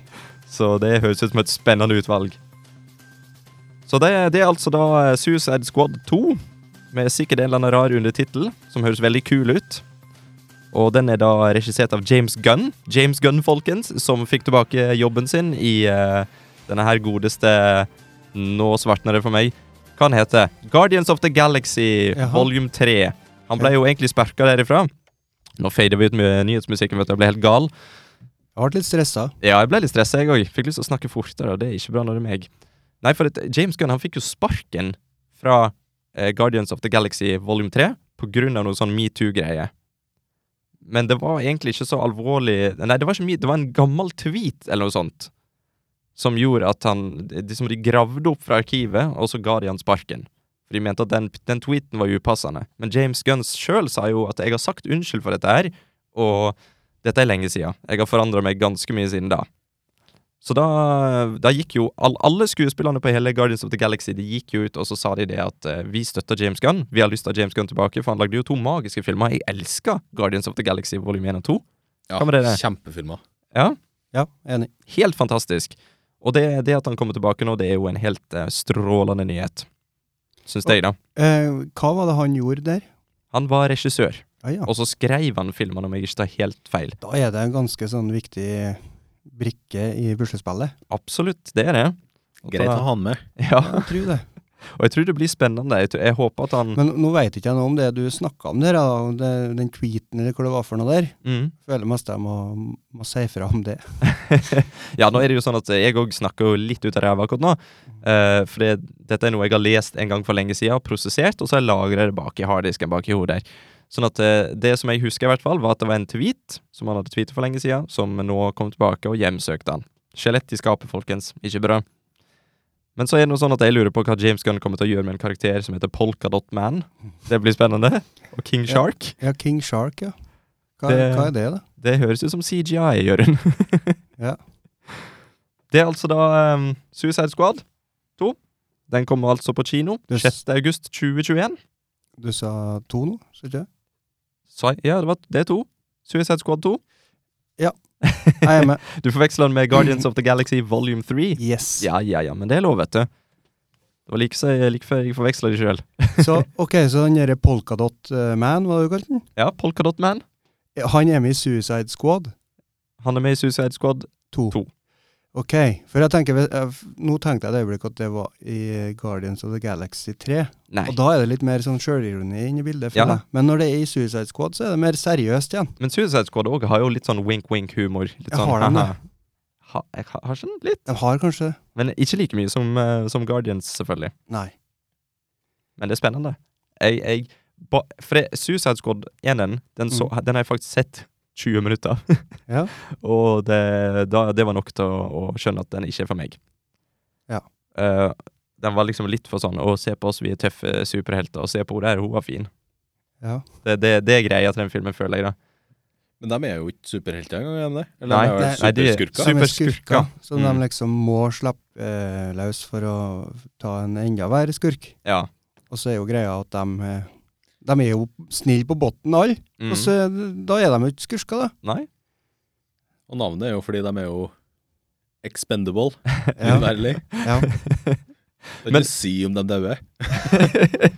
Så det høres ut som et spennende utvalg. Så det, det er altså da Suicide Squad 2, med sikkert en eller annen rar undertittel, som høres veldig kul ut. Og den er da regissert av James Gunn. James Gunn, folkens, som fikk tilbake jobben sin i eh, denne her godeste Nå svartner det for meg. Hva han heter Guardians of the Galaxy,
Jaha.
volume 3. Han ble jo egentlig sparka derifra. Nå fader vi ut med nyhetsmusikken, vet du. Jeg ble helt gal.
Jeg ble litt stressa.
Ja, jeg ble litt stressa, jeg òg. Fikk lyst til å snakke fortere, og det er ikke bra når det er meg. Nei, for at James Gunn han fikk jo sparken fra eh, Guardians of the Galaxy volum 3 på grunn av noe sånn metoo-greie. Men det var egentlig ikke så alvorlig Nei, det var ikke mye, det var en gammel tweet eller noe sånt som gjorde at han De, som de gravde opp fra arkivet, og så ga de han sparken. For de mente at den, den tweeten var upassende. Men James Gunn sjøl sa jo at 'jeg har sagt unnskyld for dette her', og dette er lenge siden. Jeg har forandra meg ganske mye siden da. Så da, da gikk jo all, alle skuespillerne på hele Guardians of the Galaxy De gikk jo ut og så sa de det at eh, vi støtter James Gunn. Vi har lyst til at James Gunn tilbake, for han lagde jo to magiske filmer. Jeg elsker Guardians of the Galaxy volum 1 og 2.
Ja,
Hva med det der?
Kjempefilmer.
Ja, enig.
Helt fantastisk. Og det, det at han kommer tilbake nå, det er jo en helt eh, strålende nyhet. Syns jeg, da.
Eh, hva var det han gjorde der?
Han var regissør,
Ja, ja.
og så skrev han filmene, om jeg ikke tar helt feil.
Da er det en ganske sånn viktig brikke i puslespillet.
Absolutt, det er det. Og
Greit å
da-
ha han med.
Ja.
Jeg tror det.
Og jeg tror det blir spennende. Jeg, tror- jeg håper at han
Men nå veit ikke jeg noe om det du snakka om der, da, om det, den tweeten eller hva det var for noe der.
mm.
Føler mest jeg må, må si fra om det.
Ja, nå er det jo sånn at jeg òg snakker jo litt ut av ræva akkurat nå. eh, for det, dette er noe jeg har lest en gang for lenge siden og prosessert, og så har jeg lagret det bak i harddisken bak i hodet her. Sånn at eh, det som jeg husker, i hvert fall, var at det var en tweet som han hadde tweetet for lenge siden, som nå kom tilbake og hjemsøkte han. Skjelett i skapet, folkens. Ikke bra. Men så er det noe sånn at jeg lurer på hva James Gunn kommer til å gjøre med en karakter som heter Polkadot-Man. Det blir spennende. Og King
Ja.
Shark.
Ja, King Shark, ja. Hva,
Det-
hva er det, da?
Det høres ut som CGI, Jørund. (laughs)
Ja.
ehm, Det er altså da um, Suicide Squad 2. Den kommer altså på kino
Yes.
6. august 2021.
Du sa to nå, sa ikke jeg?
Sa- ja, det var det er to. Suicide Squad 2.
Jeg er
(laughs)
med.
Du forveksler den med Guardians of the Galaxy volume 3.
Yes.
Ja, ja, ja, men det er lov, vet du. Det var like, så- like før jeg forveksla de sjøl.
Så ok, så den derre Polkadot eh, Man, hva du kalte den?
Ja, Polkadot Man.
Han er med i Suicide Squad
Han er med i Suicide Squad.
2.
To.
Ok, for jeg tenker, jeg f- nå tenkte jeg et øyeblikk at det var i Guardians of the Galaxy 3.
Nei.
Og da er det litt mer sånn sjølironi inne i bildet.
Ja.
Ja. Men når det er i Suicide Squad, så er det mer seriøst igjen.
Men Suicide Squad òg har jo litt sånn wink-wink-humor. Litt
Jeg
sånn,
har den,
haha.
da.
Ha, jeg har, har ikke den litt,
De har kanskje det?
men ikke like mye som, eh, som Guardians, selvfølgelig.
Nei.
Men det er spennende. Jeg, jeg, ba, for det, Suicide Squad 1, den, så,
Mm.
den har jeg faktisk sett 20 minutter. (laughs)
Ja.
Og det, da, det var nok til å, å skjønne at den ikke er for meg.
Ja.
Eh, den var liksom litt for sånn Å, se på oss, vi er tøffe superhelter. Og se på henne der, hun var fin.
Ja.
Det, det, det er greia til den filmen, føler jeg. da
Men de er jo ikke superhelter engang, er de det?
Nei,
de er vel
nei,
nei, de er
superskurker?
super-
Som er skurker,
Superskurker.
Som
Mm.
de liksom må slappe eh, løs for å ta en enda verre skurk.
Ja.
Og så er jo greia at de, eh, de er jo snille på bunnen, alle.
Mm.
Og så, da er de jo ikke
(laughs)
skurker, da. (laughs)
Nei.
Og navnet er jo fordi de er jo expendable, (laughs)
Ja.
uværdelig.
Ja.
Kan
Men-
ikke si om de dauer.
(laughs)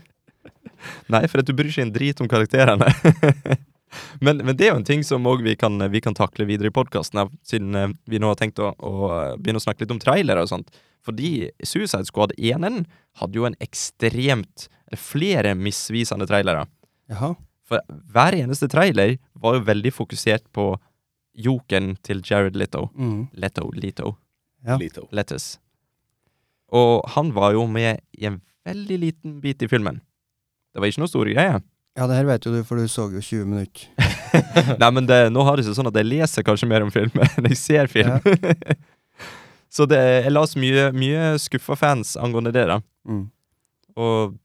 Nei, for at du bryr seg en drit om karakterene. (laughs) men, men det er jo en ting som òg vi, kan- vi kan takle videre i podkasten, siden eh, vi nå har tenkt å, å eh, begynne å snakke litt om trailere og sånt. Fordi Suicide Squad 1 hadde jo en ekstremt Flere misvisende trailere.
Jaha.
For hver eneste trailer var jo veldig fokusert på joken til Jared Litto.
Mm.
Leto, Lito,
Ja.
Lito.
Letters. Og han var jo med i en veldig liten bit i filmen. Det var ikke noe store (laughs) greier.
Ja, det her vet jo du, for du så jo 20 minutter.
Nei, men det, nå har det seg sånn at jeg leser kanskje mer om film enn jeg ser film. (laughs) så det, jeg las mye, mye skuffa fans angående det, da.
Mm.
Og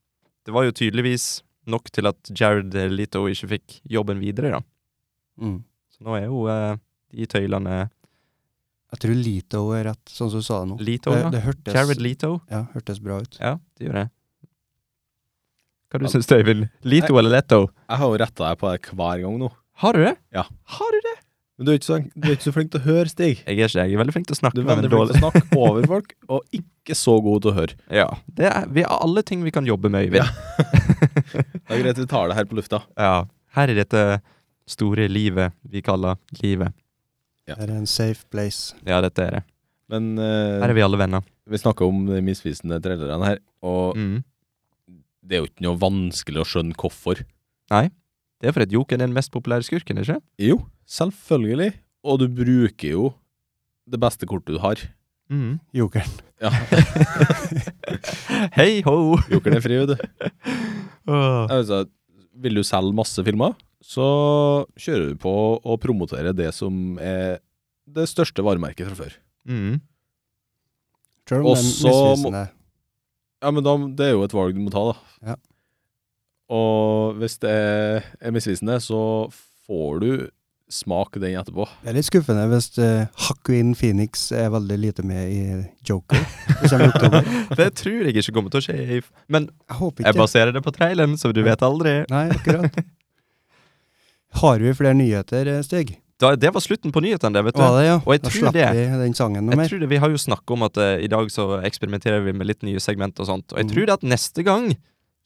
det var jo tydeligvis nok til at Jared Leto ikke fikk jobben videre, da.
Mm.
Så nå er jo eh, de eh, tøylene
Jeg tror Lito er rett, sånn som du sa det nå.
Leto,
Det,
ja.
det hørtes,
Jared Leto.
ja, hørtes bra ut.
Ja, det gjør jeg. Hva du syns du, Øyvind? Leto eller Leto?
Jeg har jo retta deg på det hver gang nå.
Har du det?
Ja.
Har du det?
Men du er ikke så, du er ikke så flink til å høre, Stig.
Jeg er ikke det. Jeg er veldig flink til å
Du
snakke,
er
men
veldig flink
dårlig.
til å
(laughs)
snakke over folk, og ikke så god til å høre.
Ja, det er, vi har alle ting vi kan jobbe med, Øyvind.
Det er greit vi tar det her på lufta.
Ja, her i dette store livet vi kaller livet.
Ja.
Det er en safe place.
Ja, dette er det.
Men eh,
Her er vi alle venner.
vi snakker om de misvisende trailerne her, og
Mm.
det er jo ikke noe vanskelig å skjønne hvorfor.
Det er fordi Joken er den mest populære skurken, ikke
Jo, selvfølgelig. Og du bruker jo det beste kortet du har.
mm.
Jokeren.
(laughs) Ja,
(laughs) Hei ho!
Jokeren er fri, vet du.
(laughs) Åh.
Altså, vil du selge masse filmer, så kjører du på å promotere det som er det største varemerket fra før.
Mm.
Selv om
Og
det er
så må-
misvisende.
Ja, men da, det er jo et valg du må ta, da.
Ja.
Og hvis det er, er misvisende, så får du smake den etterpå.
Det er litt skuffende hvis uh, Hakuin Phoenix er veldig lite med i Joker. Det kommer i oktober.
(laughs) det tror jeg ikke kommer til å skje. i f- Men
Jeg håper
jeg
ikke.
baserer det på traileren, så du vet aldri.
Nei, akkurat. Har vi flere nyheter, eh, Stig?
Da, det var slutten på nyhetene, det, vet du.
Var det, ja.
Og jeg
Da
tror
slapp
det-
vi den sangen noe
Jeg
mer.
tror det, Vi har jo snakket om at eh, i dag så eksperimenterer vi med litt nye segment og sånt.
Mm.
Og jeg tror det at neste gang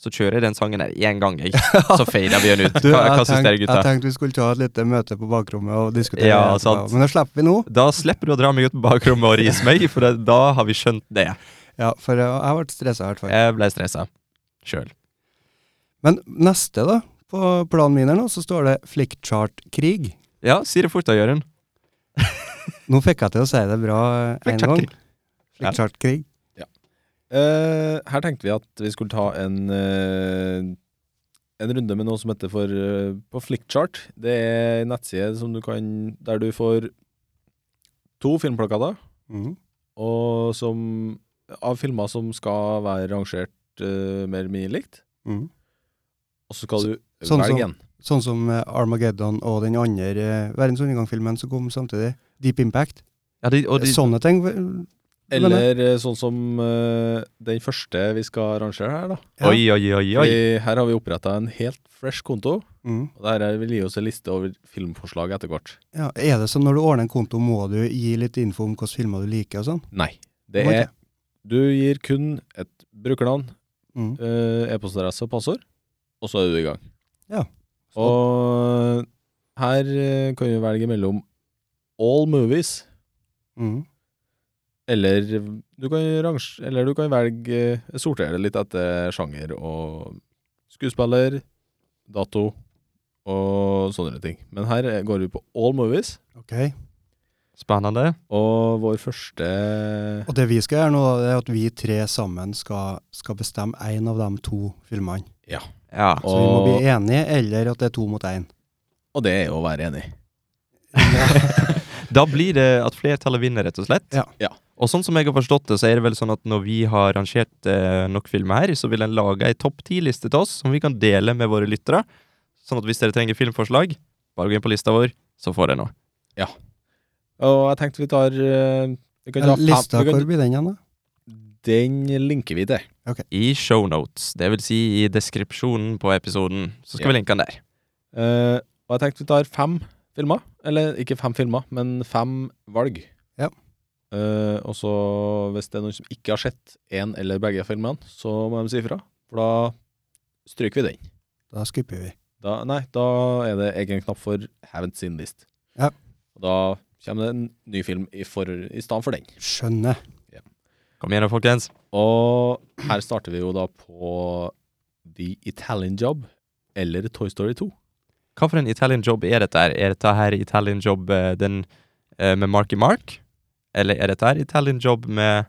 så kjører jeg den sangen her én gang,
(laughs)
jeg. Så fader vi den ut.
Du,
Hva, hva
jeg,
syns
tenkte,
dere,
jeg
gutta?
tenkte vi skulle ta et lite møte på bakrommet og diskutere
Ja,
det etterpå.
sant.
Men da slipper vi nå.
Da slipper du å dra meg ut på bakrommet og rise meg, for det, da har vi skjønt det.
Ja, for eh, jeg, jeg ble stressa i hvert fall.
Jeg ble stressa sjøl.
Men neste, da, på planen min her nå, så står det Flickchart-krig.
Ja, si det fort da, Jørund.
Nå fikk jeg til å si det bra én gang.
Flickchart-krig.
Flickchart-krig.
Eh, her tenkte vi at vi skulle ta en eh, En runde med noe som heter for eh, På Flickchart. Det er en nettside som du kan Der du får to filmplakater Mm,
Mhm.
og som, av filmer som skal være rangert eh, mer eller mindre likt.
Mhm.
Og så skal du
sånn som-
velge en.
Sånn som eh, Armageddon og den andre eh, Verdens undergang-filmen som kom samtidig. Deep Impact.
Ja, de, og de,
Sånne ting.
Sånn, Eller eh, sånn som eh, den første vi skal arrangere her, da.
Ja.
Oi, oi, oi, oi.
Vi, her har vi oppretta en helt fresh konto,
Mm.
og det her vil gi oss en liste over filmforslag etter hvert.
Ja, er det sånn når du ordner en konto, må du gi litt info om hvilke filmer du liker og sånn?
Nei. Det
Må
er
ikke.
Du gir kun et brukernavn,
Mm.
eh, e-postadresse og passord, og så er du i gang.
Ja.
Og her eh, kan vi velge mellom all movies,
Mm.
eller du kan, range, eller du kan velge eh, Sortere det litt etter sjanger og skuespiller, dato og sånne ting. Men her eh, går vi på all movies,
Ok.
Spennende.
og vår første
Og det vi skal gjøre nå, da, det er at vi tre sammen skal, skal bestemme én av de to filmene.
Ja.
Så vi må
Og-
bli enige, eller at det er to mot
(laughs)
én.
Og det er jo å være enig.
Da blir det at flertallet vinner, rett og slett.
Ja.
Ja.
Og sånn som jeg har forstått det, så er det vel sånn at når vi har rangert eh, nok filmer her, så vil en lage ei topp ti-liste til oss som vi kan dele med våre lyttere. Sånn at hvis dere trenger filmforslag, bare gå inn på lista vår, så får dere noe.
Og jeg tenkte vi tar eh, vi kan ta fem-
Lista,
vi kan-
hvor blir den igjen, da?
Den linker vi til.
I shownotes, det vil si i deskripsjonen på episoden, så skal
Ja.
vi linke den der.
Eh, og jeg tenkte vi tar fem filmer. Eller ikke fem filmer, men fem valg.
Ja.
Eh, og så hvis det er noen som ikke har sett én eller begge filmene, så må de si ifra. For da stryker vi den.
Da skipper vi.
Da, nei, da er det egen knapp for haven't seen list.
Ja.
Og da kommer det en ny film i, for, i stedet for den.
Skjønner.
Kom igjen da, folkens.
Og her starter vi jo da på The Italian Job eller Toy Story 2.
Hva for en Italian job er dette her? Er dette her Italian job eh, den eh, med Marky Mark? Eller er dette her Italian job med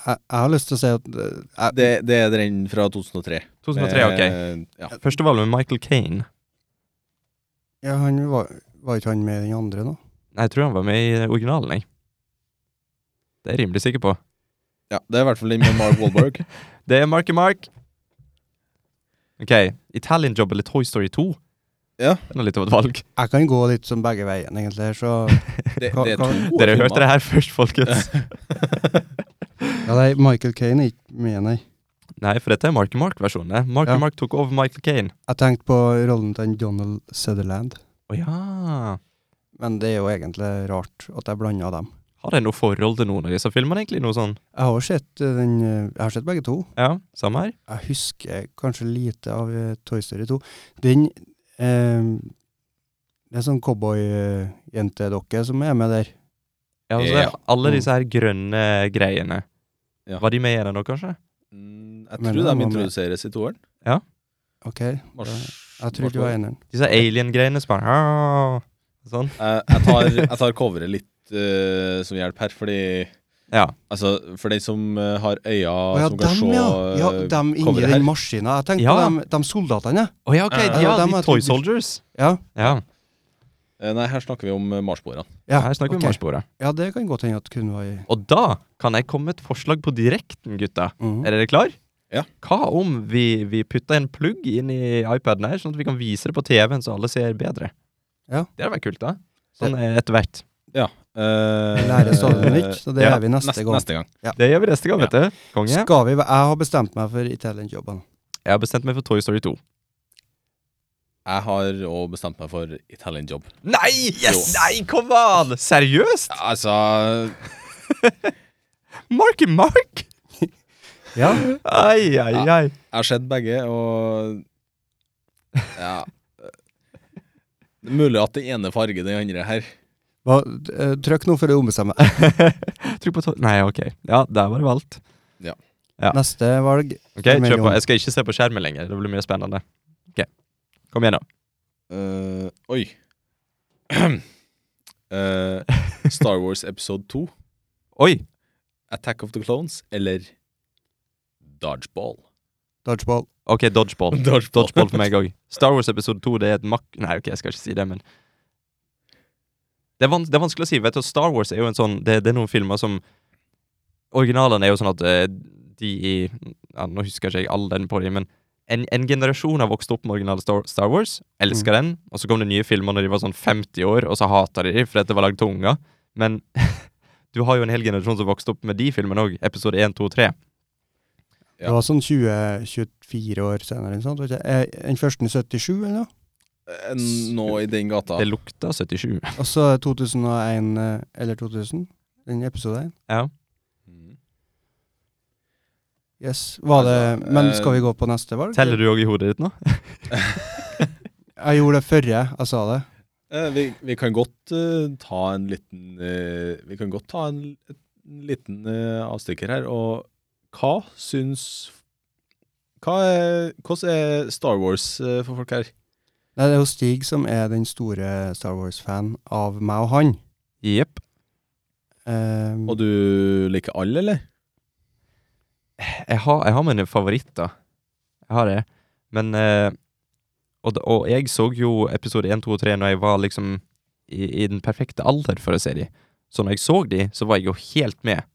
Jeg, jeg har lyst til å si at eh, jeg,
Det, det er den fra 2003.
2003? Ok.
Eh, ja.
Første valg med Michael Kane.
ja, han var, var ikke han med i den andre nå?
Nei, jeg tror han var med i originalen, jeg. Det er jeg rimelig sikker på.
Ja, det er i hvert fall den med Mark
(laughs)
Wahlberg.
Det er Marky Mark. Ok, Italian Job eller Toy Story 2?
Ja.
Den er litt av et valg.
Jeg kan gå litt som begge veien, egentlig. her, Så
det,
Hva-
det er
hva-
to gode
Dere
filmer.
hørte det her først, folkens.
ja, nei, Michael Kane er ikke med, nei.
(laughs) Nei, for dette er Marky Mark-versjonen. Marky
Ja.
Mark tok over Michael Kane.
Jeg tenkte på rollen til en Donald Sutherland,
Å ja.
men det er jo egentlig rart at jeg blanda dem.
Har jeg noe forhold til noen av disse filmene, egentlig? Noe sånn?
Jeg har jo sett eh, den eh, Jeg har sett begge to.
Ja, samme her.
Jeg husker kanskje lite av eh, Toy Story 2. Den eh, Det er sånn cowboyjentedokke som er med der.
Ja, altså,
Ja. Mm.
Alle disse her grønne greiene.
Ja.
Var de med i den nå, kanskje?
Mm,
Men
Jeg tror
han
de
var med.
introduseres i toeren.
OK, jeg trodde det var eneren.
Disse alien-greiene som bare «Ah», Sånn.
Jeg, jeg, tar, jeg tar coveret litt eh, som hjelp her, fordi
Ja.
Altså, for den som eh, har øyne
Å ja,
som kan
dem,
se
ja. ja!
eh,
Dem inni
coveret her.
den maskina. Jeg tenkte
Ja.
på dem, de soldatene, jeg.
Å ja, ok.
Ja,
De, Eh, ja,
dem
de
har
Toy
jeg trodd-
Soldiers.
Ja.
Ja.
eh, Nei, her snakker vi om eh, marsboerne.
Ja,
Her snakker vi
ok.
om marsboere.
Ja, det kan godt hende at kun var i
Og da kan jeg komme med et forslag på direkten, gutta.
Mhm.
Er dere klar?
Ja.
Hva om vi, vi putter en plugg inn i iPaden her, sånn at vi kan vise det på TV-en så alle ser bedre?
Ja.
Det hadde vært kult, da. Sånn eh, etter hvert.
Uh,
Vi lærer stadig noe nytt, så det
ja,
gjør vi neste, gang.
eh, Neste gang.
Det gjør vi neste gang,
Ja.
vet du. Konge.
Skal vi, jeg har bestemt meg for Italian-jobben.
Jeg har bestemt meg for Toy Story 2.
Jeg har òg bestemt meg for Italian job.
Nei! Yes! Nei, come on! Seriøst?
Altså
Marky Mark?
Ja.
Ai, ai, ai. (laughs)
Jeg har sett begge, og Ja. Det er mulig at den ene farger den andre her.
Hva, eh, trykk nå for å ombestemme. deg.
Trykk på to... Nei, OK. Ja, der var det valgt. Ja.
Neste valg
Ok, kjør på. Jeg skal ikke se på skjermen lenger. Det blir mye spennende. Ok, Kom igjen, da.
Eh, (clears throat) oi. Eh, (laughs) Star Wars episode 2,
Oi!
Attack of the Clones, eller Dodgeball?
Dodgeball.
Ok, dodgeball.
Dodgeball.
Dodgeball for meg òg. Star Wars episode 2 det er et mak... Nei, ok, jeg skal ikke si det, men det er, vans det er vanskelig å si. Vet du, Star Wars er jo en sånn Det, det er noen filmer som Originalene er jo sånn at eh, de i ja, Nå husker ikke jeg all den på dem, men en, en generasjon har vokst opp med originale Star, Star Wars, elsker den, og så kom det nye filmer når de var sånn 50 år, og så hata de dem fordi at det var lagd til unger. Men (laughs) Du har jo en hel generasjon som vokste opp med de filmene òg. Episode 1, 2, 3.
Ja.
Det var sånn 20-24 år senere. Ikke sant? Vet jeg. Eh, Den første i 77 eller noe.
Eh, Nå i den gata.
Det lukta 77.
Og så 2001 eh, eller 2000. Den episode 1.
Ja.
Mm.
Yes. Var det,
Altså,
men
eh,
skal vi gå på neste valg?
Teller du òg i hodet ditt nå?
Jeg gjorde det før jeg jeg sa det.
Eh, vi, vi kan godt eh, ta en liten eh, Vi kan godt ta en, en liten eh, avstikker her. Og hva syns hva er, Hvordan er Star Wars eh, for folk her?
Nei, det er jo Stig som er den store Star Wars-fan av meg og han.
Jepp.
Eh,
Og du liker alle, eller?
Jeg har, jeg har mine favoritter. Jeg har det. Men eh, og, d- og jeg så jo episode 1, 2 og 3 når jeg var liksom i, i den perfekte alder for å se de. Så når jeg så de, så var jeg jo helt med.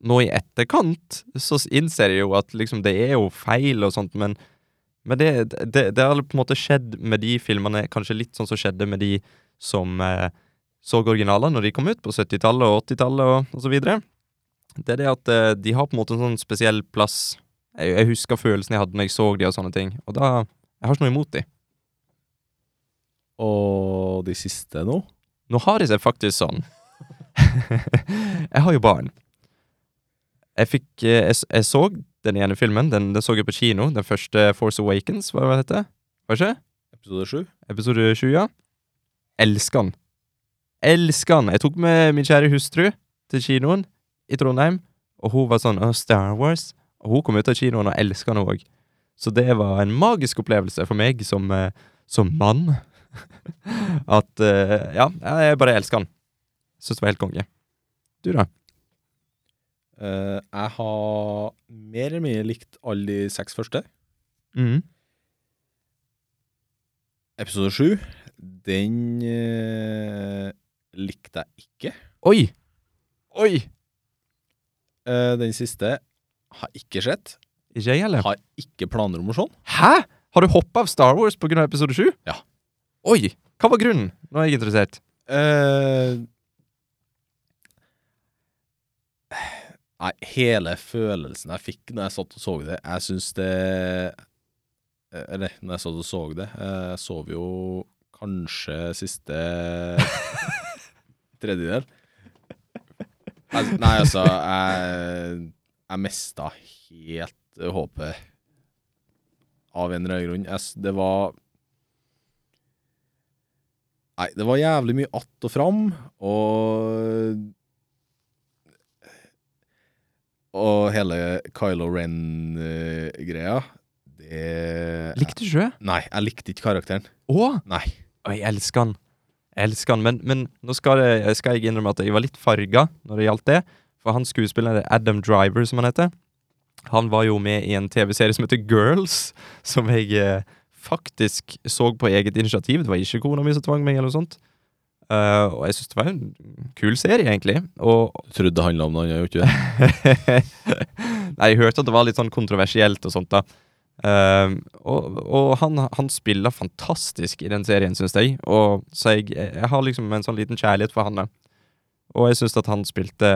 Nå i etterkant så s- innser jeg jo at liksom det er jo feil og sånt, men, men det, det, det har på en måte skjedd med de filmene, kanskje litt sånn som skjedde med de som eh, så originalene når de kom ut på 70-tallet og 80-tallet og, og så videre. Det er det at eh, de har på en måte en sånn spesiell plass. Jeg, jeg husker følelsen jeg hadde når jeg så de og sånne ting, og da Jeg har ikke noe imot de.
Og de siste nå?
Nå har jeg seg faktisk sånn. (laughs) jeg har jo barn. Jeg fikk eh, Jeg, s- jeg så den ene filmen. Den, den så jeg på kino. Den første Force Awakens, hva var det hette? Var det ikke?
Episode sju?
Episode 20, ja. Elsker den. Elsker den. Jeg tok med min kjære hustru til kinoen i Trondheim, og hun var sånn «Åh, Star Wars. Og hun kom ut av kinoen og elska den òg. Så det var en magisk opplevelse for meg som, eh, som mann. (laughs) At eh, Ja, jeg bare elsker den. Syns det var helt konge. Du, da?
Eh, jeg har mer eller mindre likt alle de seks første.
Mm.
Episode sju, den eh, likte jeg ikke.
Oi! Oi!
Eh, den siste har jeg ikke sett.
Ikke jeg heller.
Har ikke planer om å se den.
Hæ?! Har du hoppa av Star Wars pga. episode 7?
Ja.
Oi! Hva var grunnen? Nå er jeg interessert.
Eh, Nei, hele følelsen jeg fikk når jeg satt og så det Jeg syns det eh, Eller, når jeg satt og så det eh, Jeg sov jo kanskje siste tredjedel. Jeg, nei, altså Jeg, jeg mista helt håpet av en eller annen grunn. Jeg, s- det var Nei, det var jævlig mye att og fram, og Og hele Kylo Ren-greia, det
Likte du ikke det?
Nei, jeg likte ikke karakteren.
Å!
Nei.
Og jeg elsker han. Jeg elsker han, men, men nå skal, det, skal jeg innrømme at jeg var litt farga når det gjaldt det. For han skuespilleren Adam Driver, som han heter, han var jo med i en TV-serie som heter Girls, som jeg eh, faktisk så på eget initiativ. Det var ikke kona mi som tvang meg, eller noe sånt. Eh, og jeg syns det var en kul serie, egentlig. Og,
Du trodde det handla om noe annet, gjorde (laughs) ikke det?
(laughs) Nei, jeg hørte at det var litt sånn kontroversielt og sånt da. Ehm, og og han, han spiller fantastisk i den serien, synes jeg. Og, så jeg, jeg har liksom en sånn liten kjærlighet for han da. Og jeg synes at han spilte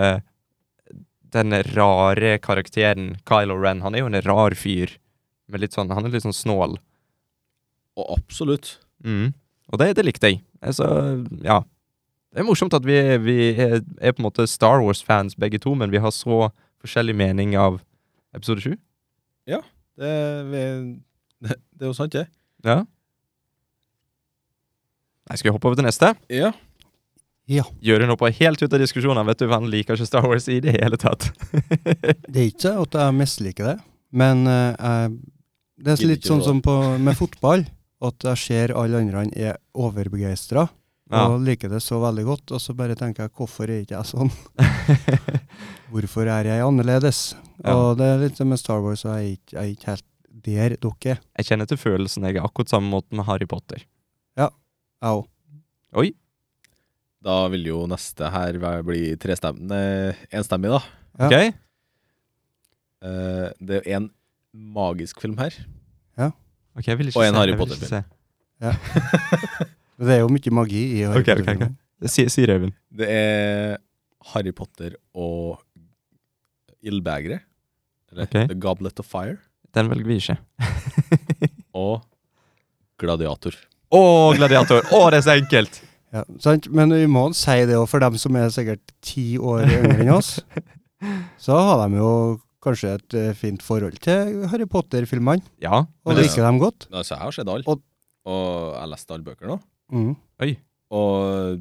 den rare karakteren Kylo Ren. Han er jo en rar fyr. Med litt sånn, han er litt sånn snål.
Og absolutt.
Mm. Og det, det likte jeg. Altså, ja. Det er morsomt at vi, vi er, er på en måte Star Wars-fans begge to, men vi har så forskjellig mening av episode 7.
Det, vi- det, det er jo sant, det.
Ja. Nei, skal vi hoppe over til neste?
Ja.
Jørund hopper helt ut av diskusjonen. Vet du, for Han liker ikke Star Wars i det hele tatt.
Det er ikke at jeg misliker det, men eh, jeg, det er
Gidder
litt
ikke
sånn
å-
som på, med fotball, at jeg ser alle andre er overbegeistra
Ja.
og liker det så veldig godt, og så bare tenker jeg hvorfor er ikke jeg
(laughs)
sånn? Hvorfor er jeg annerledes?
Ja.
Og det er litt som med Star Wars, og jeg er ikke, jeg er ikke helt der dere er.
Jeg kjenner til følelsen. Jeg er akkurat samme måten med Harry Potter.
Jeg òg.
Da vil jo neste her være- bli trestemmende enstemmig, da.
Ja.
Ok?
Eh, det er jo en magisk film (laughs) her.
Ok, jeg vil ikke
Og en
se,
Harry
jeg vil ikke
Potter-film.
se.
Det er jo mye magi i Harry
Ok, ok, ok.
Potter-filmen.
Si, si Røyvind.
Det er Harry Potter og Ildbegeret. Eller
Ok.
The Goblet of Fire.
Den velger vi ikke.
Og Gladiator.
Å, gladiator! Å, det er så enkelt!
Ja, sant? Men vi må si det òg, for dem som er sikkert ti år yngre enn oss. Så har de jo kanskje et eh, fint forhold til Harry Potter-filmene,
Ja.
og
Men det,
liker dem godt.
Altså, jeg har sett alle.
Og-
Og, jeg har lest alle bøker nå.
Mm.
Og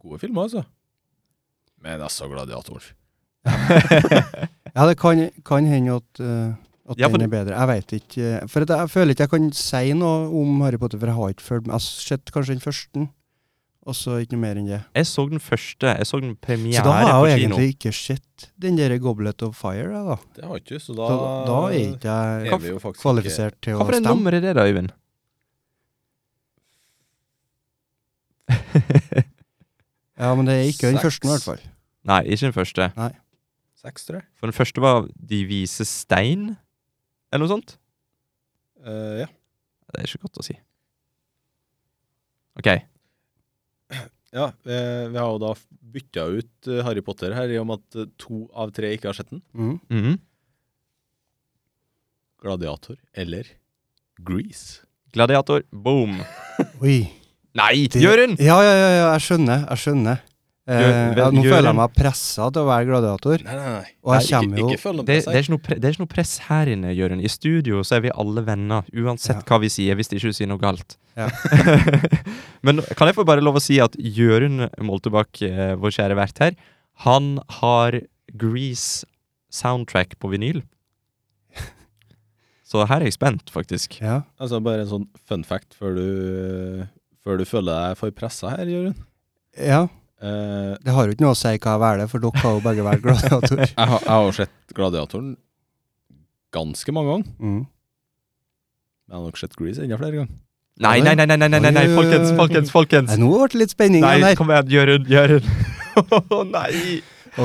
gode filmer, altså. Men altså, Gladiator.
(laughs)
Ja, det kan, kan hende at, eh, at
Ja, for
den er bedre. Jeg veit ikke. eh, For at jeg føler ikke jeg kan si noe om Harry Potter, for jeg har ikke følt med. Jeg har sett kanskje den første, og så ikke noe mer enn det.
jeg så den første. Jeg så den
Så
premiere
da har jeg
på
jo
kino.
egentlig ikke sett den der Goblet of Fire, jeg, da.
Det har ikke du, så da,
Så da, da er ikke jeg
vi jo faktisk
kvalifisert til å
Hvorfor er
stemme.
nummeret det, da, Øyvind?
Ja, men det er ikke den
Seks.
første, i hvert fall.
(laughs) Nei, ikke den første.
ikke Seks, tror jeg.
For den første var De vise stein, eller noe sånt.
Eh, ja.
Det er ikke godt å si. OK.
ja eh, vi har jo da bytta ut eh, Harry Potter her, i og med at eh, to av tre ikke har sett den.
Mm.
Mhm.
Gladiator eller Grease.
Gladiator. Boom.
Oi.
Nei,
Det-
Jørund!
Ja, ja, ja, ja, jeg skjønner. Jeg skjønner. Eh,
Gjør- vel,
ja, nå
gjør
føler
en-
jeg meg pressa til å være gladiator.
Nei, nei, nei.
Og jeg kommer jo
Ikke, ikke følg
Det,
dem på
det, er
seg.
ikke noe pre, det er ikke noe press her inne, Jørund. I studio så er vi alle venner, uansett
Ja.
hva vi sier, hvis det ikke sier noe galt.
Ja.
(laughs) Men kan jeg få bare lov å si at Jørund Moltebakk, eh, vår kjære vert her, han har Grease soundtrack på vinyl. Så her er jeg spent, faktisk.
ja.
Altså, bare en sånn fun fact før du, før du føler deg for pressa her, Jørund.
ja,
Eh,
det har jo ikke noe å si hva jeg velger, for dere har jo begge vært
(laughs)
gladiator.
jeg, har, jeg har jo sett Gladiatoren ganske mange ganger.
Mm.
Men jeg har nok sett Grease enda flere ganger.
Nei, nei, nei, nei, nei, nei, nei, nei.
Oi, oi, oi.
folkens, folkens,
Nei,
folkens!
nå ble det litt spenning igjen
Nei,
her.
kom igjen, Jørund, Jørund. (laughs) Å nei!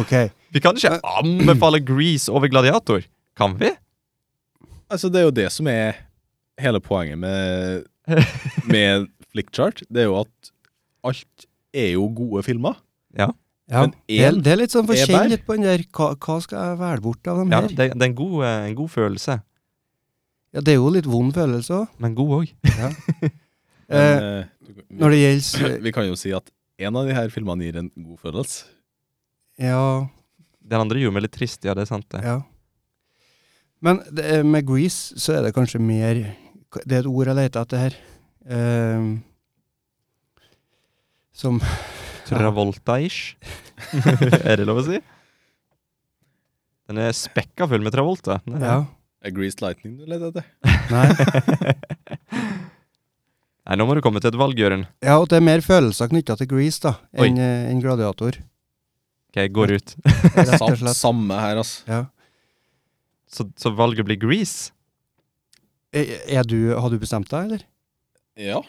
Ok,
Vi kan ikke anbefale Grease over Gladiator. Kan vi?
Altså, det er jo det som er hele poenget
(laughs)
med, med Flickchart. Det er jo at alt er jo gode filmer.
ja.
Men
Det, er-
én
det er litt sånn for å
er
kjenne
der.
litt på den der hva, hva skal jeg velge bort av dem
Ja,
her?
det, det er en god, eh, en god følelse,
Ja, det er jo litt vond følelse òg.
men god òg.
Eh,
men, eh, du-
når det gjelder
(laughs) Vi kan jo si at en av de her filmene gir en god følelse.
Ja.
Den andre gjorde meg litt trist, ja, det er sant. det.
Ja. Men det, er- med Grease så er det kanskje mer Det er et ord jeg leter etter her. Ehm, som (laughs)
Travolta-ish. er det lov å si? Den er spekka full med Travolta. Den er-
Ja.
Er Greased Lightning du leter etter?
Nei.
(laughs) Nei, nå må du komme til et valg, Jørund.
Ja, og det er mer følelser knytta til Grease da
Oi.
enn eh, enn
(laughs)
Gladiator.
Ok, jeg går ut.
Rett og
Sam,
slett.
samme her, altså.
Ja.
Så, så valget blir Grease? (laughs)
E, Er er du, har du bestemt deg, eller?
Ja.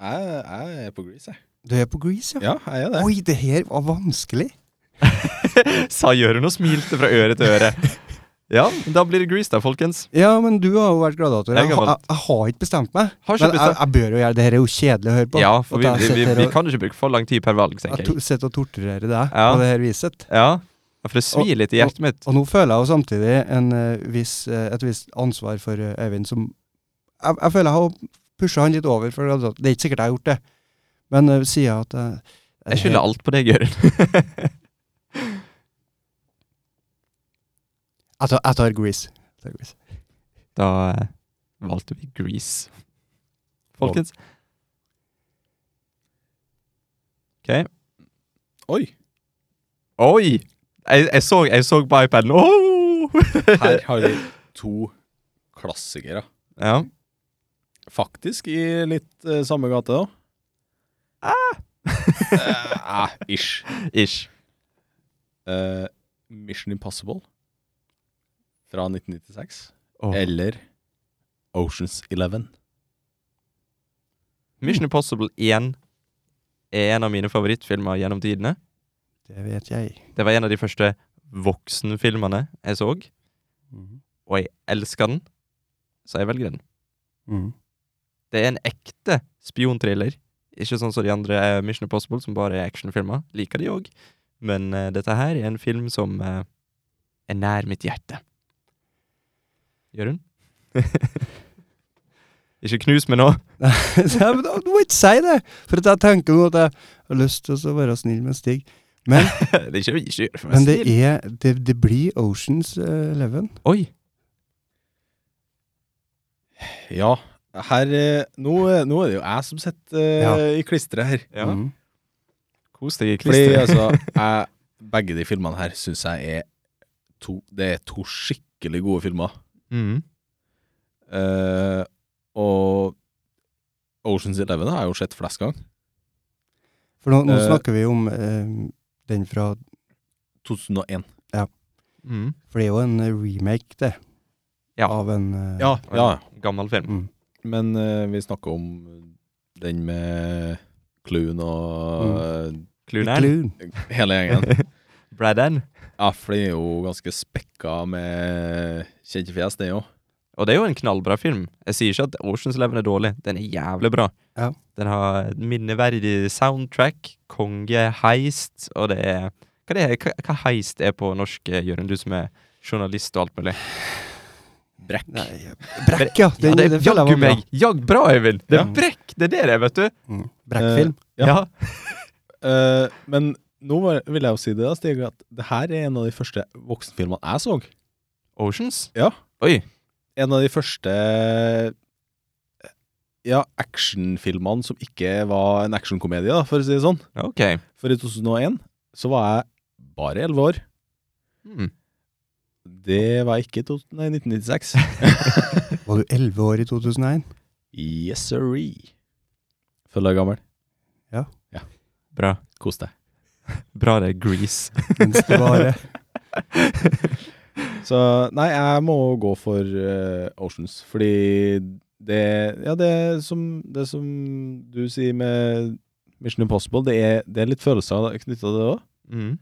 Jeg, jeg er på Grease, jeg.
Du er på Grease, ja.
Ja, jeg er det.
Oi, det her var vanskelig.
Sa Jørund og smilte fra øre til øre. Ja, da blir det Grease da, folkens.
Ja, men du har jo vært gladiator.
Jeg
Jeg,
har
ha-
valgt-
jeg, jeg har ikke bestemt meg.
Har ikke
men jeg,
bestemt.
jeg bør jo gjøre det. Her er jo kjedelig å høre på.
eh, Ja, for vi,
At jeg
vi, vi,
sitter her
vi
og-
kan ikke bruke for lang tid per valg, tenker
Jeg
jeg.
to- sitter og torturerer deg
Ja.
på det her viset.
Ja, for det svir litt i hjertet mitt.
Og nå føler jeg jo samtidig en, eh, viss, eh, et visst ansvar for eh, Øyvind som Jeg, jeg føler jeg har pusha han litt over, for det er ikke sikkert jeg har gjort det. Men uh, sier jeg at jeg,
Jeg skylder alt på deg, Jørund. (laughs)
Jeg tar, jeg tar Grease. Jeg tar Grease.
Da eh, valgte vi Grease. Folkens. OK.
Oi!
Oi! Jeg, jeg, så, jeg så på iPaden. Oh! (laughs)
Her har vi to klassikere.
ja.
Faktisk i litt eh, samme gate, da.
Ah!
Eh, eh, ish.
Ish.
Eh, Mission Impossible fra 1996.
Åh.
Eller Oceans Eleven.
Mission Impossible 1 er en av mine favorittfilmer gjennom tidene.
Det vet jeg.
Det var en av de første voksenfilmene jeg så,
Mhm.
og jeg elsker den, så jeg velger den.
Mhm.
Det er en ekte spionthriller. Ikke sånn som de andre eh, Mission Impossible, som bare er actionfilmer. Liker de òg, Men eh, dette her er en film som eh, er nær mitt hjerte. (laughs) Jørund? Ikke knus meg nå.
(laughs) Nei, men Du må ikke si det! For at jeg tenker nå at jeg har lyst til å være snill med Stig. Men,
det er ikke, ikke gjør det for meg
men det,
snill.
er, det, det blir Oceans eh, Eleven.
Oi!
Ja, her eh, nå, eh, nå er det jo jeg som sitter eh, i klisteret her.
Ja.
Mm.
Kos deg i
(laughs) Fordi
klisteret.
altså, (laughs) jeg, begge de filmene her syns jeg er to Det er to skikkelig gode filmer.
Mhm.
Eh, og Oceans Eleven har jeg jo sett flest ganger.
For nå, nå
Eh.
snakker vi om eh, den fra
2001.
Mhm.
For det er jo en eh, remake, det.
Ja.
Av en eh,
Ja, ja.
Gammel film.
Mm.
Men eh, vi snakker om den med Cluen og
Clunern.
Clue.
eh, hele gjengen.
(laughs) Bradan.
Ja, for det er jo ganske spekka med kjente fjes, det òg.
Og det er jo en knallbra film. Jeg sier ikke at Oceans Eleven er dårlig. Den er jævlig bra.
Ja.
Den har et minneverdig soundtrack, kongeheist, og det er Hva, det er, hva, hva heist er på norsk, eh, Jørund, du som er journalist og alt mulig?
Brekk.
Nei, Brekk, ja! Den,
Ja, det er
den føler jeg
jaggu
var bra.
meg! Jagg bra, Øyvind! Det
Ja.
er brekk! Det er det det er, vet du.
Mm. Brekkfilm.
Ja.
Ja.
Eh, men nå var, vil jeg jo si det, da, Stig, at det her er en av de første voksenfilmene jeg så.
Oceans?
Ja.
Oi.
En av de første eh, ja, actionfilmene som ikke var en actionkomedie, da, for å si det sånn.
Ja, OK.
For i 2001 så var jeg bare 11 år.
Mm.
Det var jeg ikke i to- nei, 1996. (laughs)
Var du elleve år i
(laughs)
2001?
yes, sirree. Føler deg gammel.
Bra.
Kos deg.
Bra det er Grease. (laughs)
Mens det var eh,
Så nei, jeg må gå for eh, Oceans, fordi det Ja, det som, det som du sier med Mission Impossible, det er, det er litt følelser knytta til det òg.
Mm.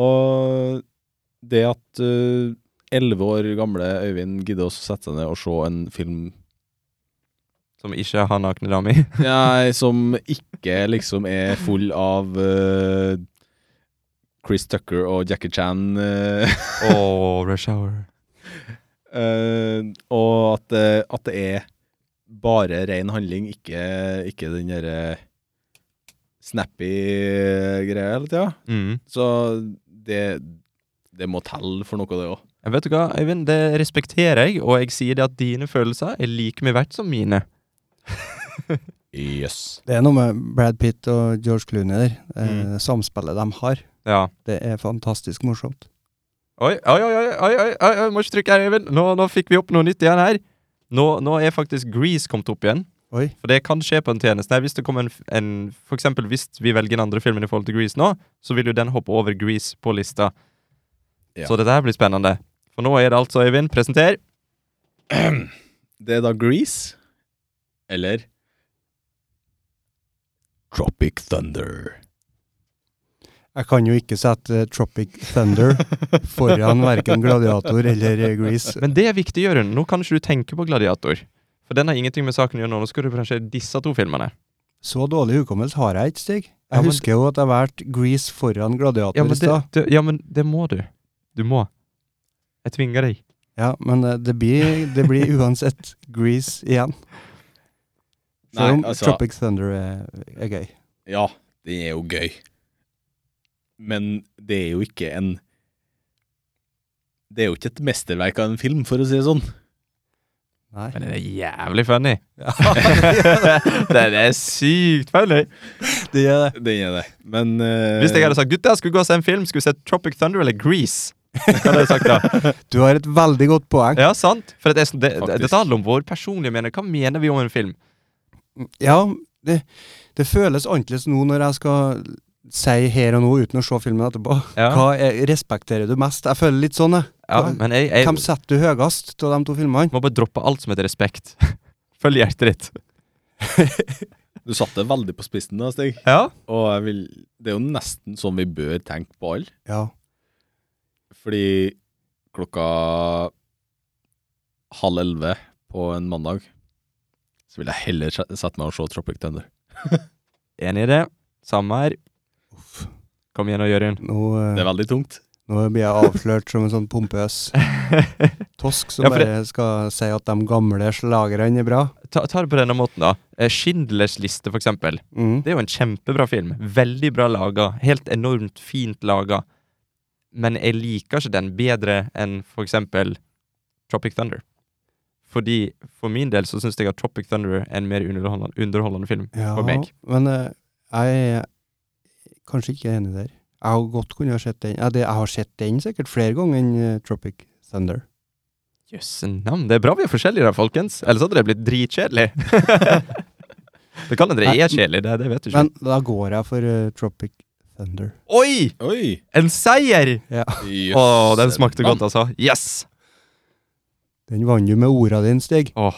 Og det at eh, elleve år gamle Øyvind gidder å sette seg ned og se en film (laughs)
Som ikke har nakne damer i.
Nei, som ikke liksom er full av eh, Chris Tucker og Jackie Chan. eh,
Åh, rush hour.
Eh, og at, det- at det er bare ren handling, ikke, ikke den derre snappy greia hele tida.
Mm.
Så det, det må telle for noe, det òg.
Jeg Vet du hva, Øyvind, det respekterer jeg, og jeg sier det at dine følelser er like mye verdt som mine.
Yes.
Det er noe med Brad Pitt og George Clooney der. Eh,
Mm.
Samspillet de har.
Ja.
Det er fantastisk morsomt.
Oi, oi, oi, oi, oi, oi, oi, oi må ikke trykke her, Øyvind. Nå, nå fikk vi opp noe nytt igjen her. Nå, nå er faktisk Grease kommet opp igjen.
Oi.
For det kan skje på en tjeneste. Nei, hvis det kommer en, f- en For eksempel hvis vi velger en andre film i forhold til Grease nå, så vil jo den hoppe over Grease på lista.
Ja.
Så dette her blir spennende. For nå er det altså, Øyvind, presenter.
Det er da Grease eller Tropic Thunder.
Jeg kan jo ikke sette eh, Tropic
(laughs)
Thunder foran verken Gladiator eller eh, Grease.
Men det er viktig, Jørund. Nå kan ikke du tenke på Gladiator. For den har ingenting med saken å gjøre nå. Nå skal du kanskje disse to filmene.
Så dårlig hukommelse har jeg ikke, Stig.
Ja,
Jeg
men-
husker jo at jeg valgte Grease foran
Ja,
Gladiator
men
i
det,
stad.
det, ja, men det må du. Du må. Jeg tvinger deg.
Ja, men eh, det blir, det
(laughs)
blir uansett Grease igjen. Selv om
Nei, altså-
Tropic Thunder er, er gøy.
Ja, den er jo gøy. Men det er jo ikke en Det er jo ikke et mesterverk av en film, for å si det sånn.
Nei.
Men den er jævlig (laughs) funny.
Ja,
den er sykt funny.
det er det.
Den er det. Men eh,
Hvis jeg hadde sagt gutta, skulle vi gå og se en film, skulle vi se Tropic Thunder eller Grease? (laughs) Hva hadde jeg sagt (laughs) da?
(laughs) Du har et veldig godt poeng.
Ja, sant? For det, er sånn- det, det,
Faktisk.
dette handler om vår personlige mening. Hva mener vi om en film?
Ja, det, det føles annerledes nå når jeg skal si her og nå uten å se filmen etterpå.
Ja.
Hva er, respekterer du mest? Jeg føler litt sånn, jeg.
Ja, men jeg, jeg
Hvem setter du høyest av de to filmene?
må bare droppe alt som heter respekt. (laughs) Følg hjertet ditt.
Du satte det veldig på spissen da, Stig.
Ja.
Og jeg vil Det er jo nesten sånn vi bør tenke på alle.
Ja.
Fordi klokka halv elleve på en mandag så vil jeg heller se- sette meg og se Tropic Thunder.
Enig i det. Samme her. Kom igjen og gjør (laughs) igjen.
Nå,
Det
eh,
er veldig tungt.
nå blir jeg avslørt som en sånn pompøs tosk som
Ja, for det-
bare skal si at de gamle slagerne er bra.
ta, ta det på denne måten, da. Eh, Schindlers liste, for eksempel.
Mm.
Det er jo en kjempebra film. Veldig bra laga. Helt enormt fint laga. Men jeg liker ikke den bedre enn for eksempel Tropic Thunder. Fordi For min del så syns jeg at Tropic Thunder er en mer underholdende, underholdende film
Ja,
for meg.
men eh, jeg er kanskje ikke enig der. Jeg har godt kunne ha sett den. Ja, det, jeg har sett den sikkert flere ganger enn eh, Tropic Thunder.
Jøsse navn. Det er bra vi er forskjellige der, folkens. Ellers hadde det blitt dritkjedelig. (laughs) det kan hende det er kjedelig, det, det vet du ikke.
Men da går jeg for eh, Tropic Thunder.
Oi!
Oi!
En seier! Å, den smakte godt, altså. Yes!
Den vant jo med orda dine, Stig.
Åh,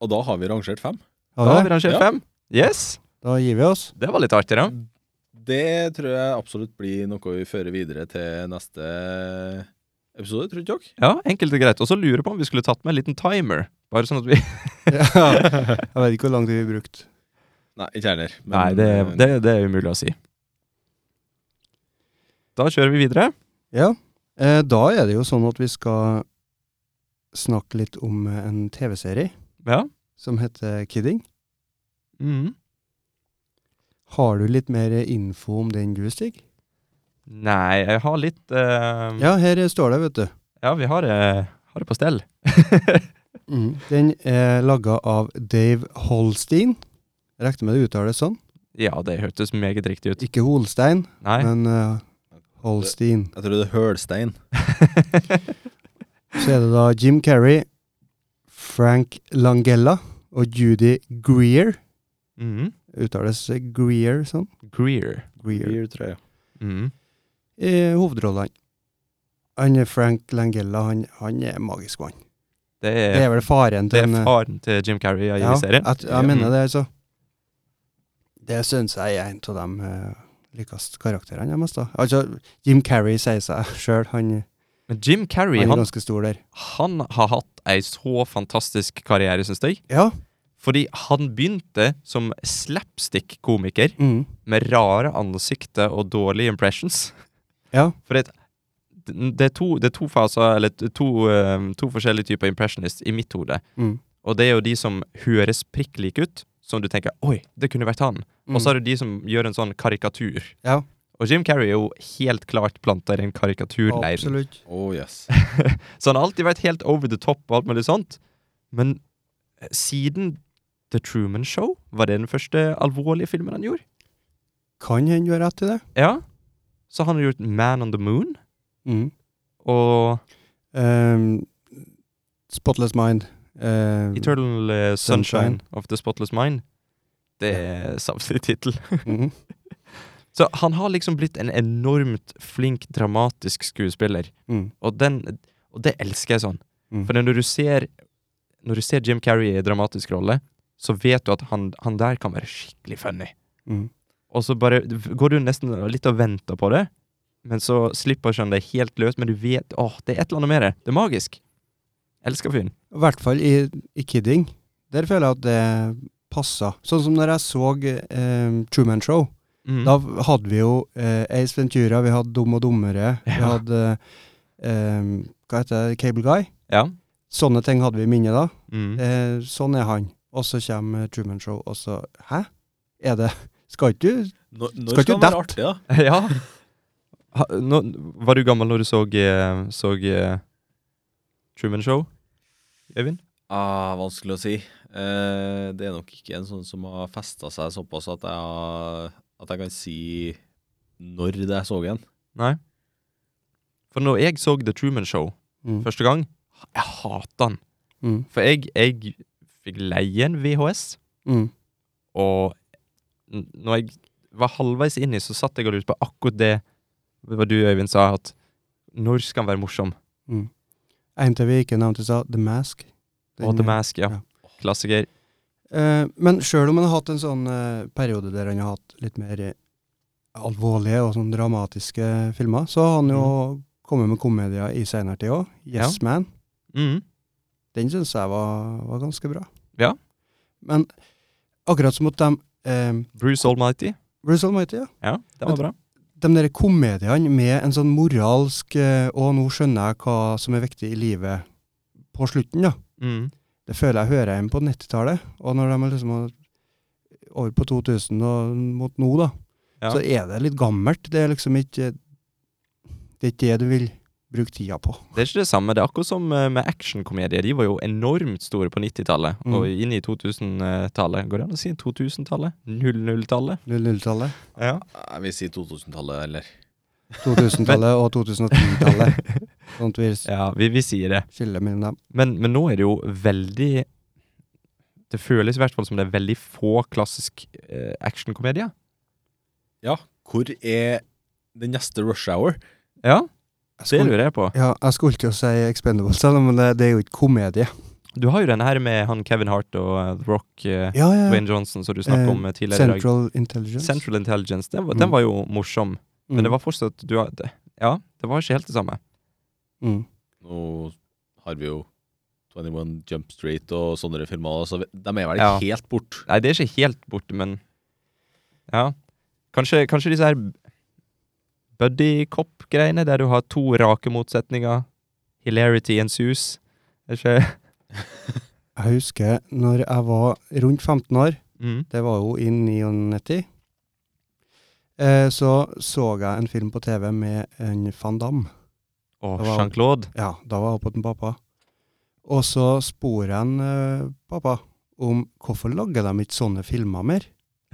Og da har vi rangert fem.
Har
da
vi
har vi
det?
rangert
Ja.
fem. Yes!
Da gir vi oss.
Det var litt artig, da.
Det tror jeg absolutt blir noe vi fører videre til neste episode, tror ikke dere?
Ja, enkelt og greit. Og så lurer jeg på om vi skulle tatt med en liten timer. Bare sånn at vi
Ja. Jeg vet ikke hvor lang tid vi brukte.
Nei, ikke heller. men- eh,
Nei, det, det, det er umulig å si. Da kjører vi videre.
Ja. Eh, da er det jo sånn at vi skal snakke litt om eh, en TV-serie
Ja.
som heter Kidding.
Mhm.
Har du litt mer eh, info om den du, Stig?
Nei, jeg har litt eh, ja.
Ja, her eh, står det, vet du.
vi har, eh, har det på (laughs) stell.
Mm. Den er laga av Dave Holstein. Jeg Rekte med det uttales sånn.
ja, det hørtes meget riktig ut.
Ikke Holstein,
Nei.
men eh, Holstein.
Jeg tror det er Hølstein.
(laughs)
Så er det da Jim Carrey, Frank Langella og Judy Greer.
Mhm.
Uttales eh, Greer sånn?
Greer.
Greer.
tror jeg.
Mhm.
I hovedrollene. Han er Frank Langella, han, han er magisk, mann.
Det
Det
er,
er vel faren
det
til
er
en, eh,
faren til Jim Carrey i
Ja,
serien.
at- jeg mener
Mm.
det, altså. Det syns jeg er en av de uh, likeste karakterene jeg mest da. Altså, Jim Carrey sier seg sjøl, han,
Men Jim Carrey,
han er
han,
ganske stor der.
han har hatt ei så fantastisk karriere, syns jeg.
Ja.
Fordi han begynte som slapstick-komiker.
Mm.
med rare ansikter og dårlige impressions.
Ja.
For det, det, er to, det er to faser, eller t- to, eh, to forskjellige typer impressionists i mitt hode.
Mm.
Og det er jo de som høres prikk like ut, som du tenker 'oi, det kunne vært han'. Og så er det de som gjør en sånn karikatur.
Ja.
Og Jim Carrey er jo helt klart planta i den karikaturleiren.
Mm. Absolutt.
Oh, yes.
Så han har alltid vært helt over the top og alt mulig sånt. Men eh, siden The Truman Show, var det den første alvorlige filmen han gjorde?
Kan hende du har rett i det.
Ja. Så han har gjort Man on the Moon,
Mm.
og
Ehm, spotless Mind. ehm,
Eternal eh, Sunshine
Sunshine.
of the Spotless Mind. Det er saftig tittel.
mhm.
(laughs) Så han har liksom blitt en enormt flink, dramatisk skuespiller.
Mm.
Og, den, og det elsker jeg sånn.
Mm.
For når du ser Når du ser Jim Carrey i en dramatisk rolle, så vet du at han, han der kan være skikkelig funny.
Mm.
Og så bare går du nesten litt og venter på det, men så slipper han det helt løs. Men du vet åh, det er et eller annet med det. Det er magisk. Elsker fyren.
I hvert fall i, i Kidding. Der føler jeg at det passa. Sånn som når jeg så eh, Truman Show.
Mm.
Da hadde vi jo eh, Ace Ventura, vi hadde Dum og dummere, vi
Ja.
hadde eh, Hva heter det? Cable Guy.
Ja.
Sånne ting hadde vi i minnet da.
Mm.
Eh, sånn er han. Og så kommer Truman Show, og så Hæ? Er det Skal ikke du
Når, når
Skal
skal,
ikke
han
dette?
være artig, da?
(laughs) ja. Ha, nå, var du gammel når du så, eh, så eh, Truman Show, Øyvind?
Ah, vanskelig å si. Eh, det er nok ikke en sånn som har festa seg såpass at jeg, har- at jeg kan si når det jeg så den.
Nei. For når jeg så The Truman Show
Mm,
første gang, jeg hata han.
mm,
For jeg, jeg fikk leie en VHS,
mm,
og n- når jeg var halvveis inni, så satt jeg og lurte på akkurat det det var du, Øyvind, sa, at når skal han være morsom?
mm. En til vi ikke nevnte, sa The Mask.
Og The Mask, ja.
ja.
Klassiker.
Eh, men sjøl om han har hatt en sånn eh, periode der han har hatt litt mer eh, alvorlige og sånn dramatiske filmer, så har han jo
Mhm.
kommet med komedier i seinere tid òg. Yes Man.
Mm.
Den syns jeg var, var ganske bra.
Ja.
Men akkurat som mot dem eh,
Bruce Almighty.
Bruce Almighty, ja.
Ja, det
Men-
var bra.
de der komediene med en sånn moralsk eh, Å, nå skjønner jeg hva som er viktig i livet på slutten, da.
Mm.
Det føler jeg hører hjemme på 90-tallet. Og når de er liksom har- over på 2000 og mot nå, da,
Ja.
så er det litt gammelt. Det er liksom ikke Det er ikke det du vil bruke tida på.
Det er ikke det samme. Det er akkurat som eh, med actionkomedier. De var jo enormt store på 90-tallet
Mm.
og inn i 2000-tallet. Går det an å si 2000-tallet? 00-tallet? (laughs)
00-tallet,
Ja.
Jeg vil si 2000-tallet, eller
2000-tallet og 2010-tallet. Sånn at vi
(laughs) Ja, vi, vi sier det.
skiller mellom dem.
Men, men nå er det jo veldig Det føles i hvert fall som det er veldig få klassisk eh, actionkomedier.
Ja. Hvor er den neste rush hour?
Ja,
Jeg
det
skulle,
lurer jeg på.
ja, jeg skulle til å si Expendables, men det, det er jo ikke komedie.
Du har jo denne her med han Kevin Hart og eh, The Rock, eh,
Ja, ja, ja.
Dwayne Johnson, som du snakket
Eh,
om eh, tidligere i dag.
Central Intelligence.
Central Intelligence. Den var,
Mm.
den var jo morsom, men det var fortsatt du, har- det- Ja, det var ikke helt det samme.
mm.
Nå har vi jo 21 Jump Street og sånne filmer, så vi- de er vel
Ja.
helt bort.
Nei, det er ikke helt borte, men Ja. Kanskje, kanskje disse her buddy cop-greiene, der du har to rake motsetninger. Hilarity ensues. Er ikke
Jeg husker når jeg var rundt 15 år,
mm.
det var jo i 99, eh, så så jeg en film på TV med en van Damme.
Og
Det var-
Jean-Claude.
Ja, da var jeg oppe til pappa. Og så spor jeg en, eh, pappa om hvorfor lager de ikke sånne filmer mer? (laughs)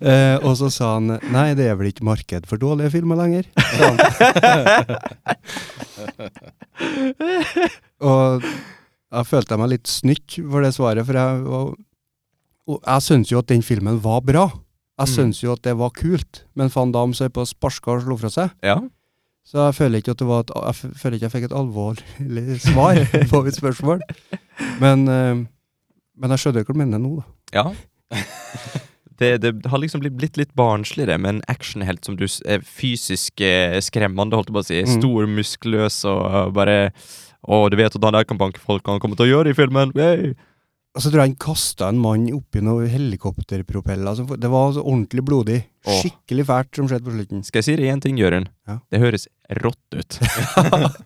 eh, og så sa han nei, det er vel ikke marked for dårlige filmer lenger. sa han. (laughs) og jeg følte meg litt snytt for det svaret, for jeg, var- og jeg syns jo at den filmen var bra. Jeg
Mm.
syns jo at det var kult, men van Damme så er på sparska og slo fra seg.
Ja.
Så jeg føler ikke at det var et, jeg f- føler ikke jeg fikk et alvorlig (laughs) svar på mitt spørsmål. Men, eh, men jeg skjønner jo hva du mener nå, da. (laughs)
ja. Det, det har liksom blitt, blitt litt barnslig, det, med en actionhelt som du s- er fysisk eh, skremmende, holdt jeg på å si.
Mm.
Stor, muskuløs og eh, bare Å, du vet at han der kan banke folk, han kommer til å gjøre det i filmen! Yay!
Og så tror Altså, jeg han kasta en mann oppi noen helikopterpropeller. som for- det var altså ordentlig blodig.
Åh.
Skikkelig fælt som skjedde på slutten.
Skal jeg si deg én ting, Jørund?
Ja.
Det høres rått
(laughs)
ut.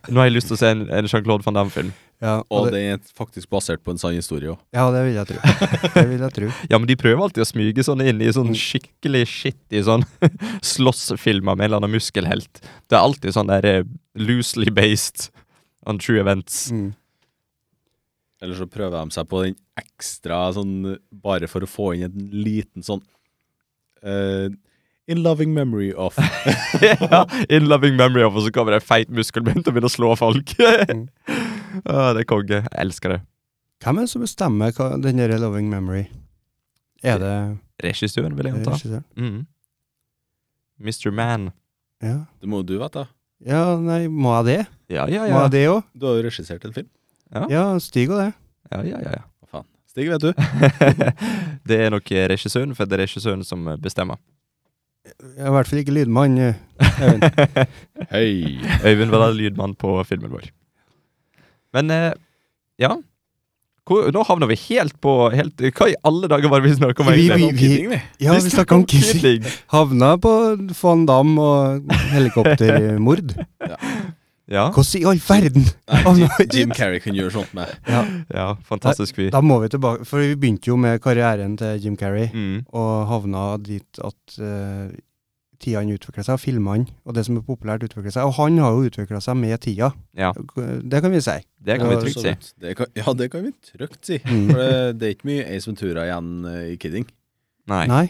Nå har jeg lyst til å se en, en Jean-Claude van Damme-film.
Ja, og
Og
det,
den er faktisk basert på en sann historie òg.
ja, det vil jeg tro. Det vil jeg tro.
Ja, men de prøver alltid å smyge sånn inn i sånn
Mm.
skikkelig shitty sånn (laughs) slåssfilmer med en eller annen muskelhelt. Det er alltid sånn der eh, loosely based on true events.
Mm.
Eller så prøver de seg på den ekstra sånn bare for å få inn en liten sånn eh, In loving memory
(laughs)
of
(laughs) ja, in loving memory of, og så kommer det en feit muskelbunt og begynner å slå folk. (laughs)
Mm.
ah, det er konge. Jeg elsker det.
Hvem er det som bestemmer hva, den der Loving Memory? Er det
Regissøren, vil jeg anta.
regissøren?
Mm. Mr. Man.
Ja.
Det må jo du vite, da.
ja, nei, må jeg det?
Ja, ja,
Må
ja.
jeg det òg?
Du har jo regissert en film.
Ja, Stig og det.
ja, ja, ja, (laughs) ja.
Hva faen. Stig, vet du.
det er nok regissøren, for det er regissøren som bestemmer.
Jeg er I hvert fall ikke lydmann. eh.
Hei!
(laughs) Øyvind var da lydmann på filmen vår. Men eh, ja Hvor, Nå havner vi helt på helt, Hva i alle dager var det vi snakket om?
Vi-
egentlig?
vi- vi- Ja, vi snakka om kissing.
kissing.
Havna på Van Damme og helikoptermord.
Ja,
Hvordan i all verden?
Nei,
Å,
Jim,
nei.
Jim Carrey kunne gjøre sånt med
ja, fantastisk fyr.
Da må vi tilbake, for vi begynte jo med karrieren til Jim Carrey,
Mm.
og havna dit at uh, tidene utvikla seg, og filmene og det som er populært, utvikla seg. Og han har jo utvikla seg med tida,
Ja.
det kan vi si.
Det kan
Ja,
vi trygt si.
Absolutt. Det kan, ja, det kan vi trygt si.
Mm.
For det, det er ikke mye Ace Ventura igjen eh, i Kidding.
Nei.
Nei.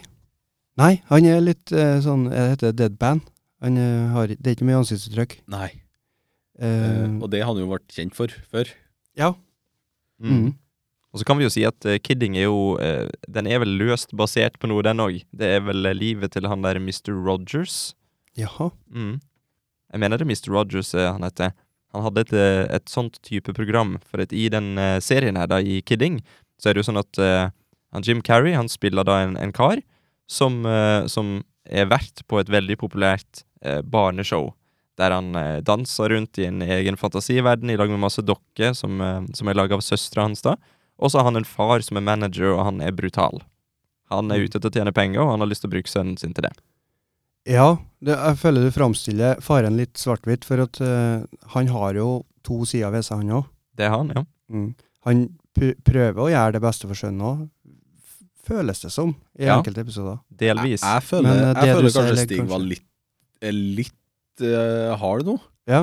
Nei, han er litt eh, sånn, jeg heter det deadband. Han eh, har, det er ikke mye ansiktsuttrykk.
Nei.
Eh,
og det har han jo vært kjent for før.
ja.
Mm.
Mm.
Og så kan vi jo si at eh, Kidding er jo eh, Den er vel løst basert på noe, den òg. Det er vel eh, livet til han der Mr. Rogers.
Jaha.
Mm. Jeg mener det er Mr. Rogers eh, han heter. Han hadde et, eh, et sånt type program, for at i den eh, serien her, da, i Kidding, så er det jo sånn at eh, han Jim Carrey, han spiller da en, en kar som, eh, som er vert på et veldig populært eh, barneshow, der han eh, danser rundt i en egen fantasiverden i lag med masse dokker som, eh, som er laga av søstera hans, da. Og så har han en far som er manager, og han er brutal. Han er ute etter å tjene penger, og han har lyst til å bruke sønnen sin til det.
Ja, det, jeg føler du framstiller faren litt svart-hvitt, for at eh, han har jo to sider ved seg, han òg.
Det er han, ja.
Han pu- prøver å gjøre det beste for sønnen òg, føles det som, i
Ja.
enkelte episoder.
Delvis.
Jeg, jeg føler,
Men, eh, det
jeg
du sier,
føler kanskje
eller
Stig
kanskje-
var litt, eh, litt eh, hard nå.
Ja.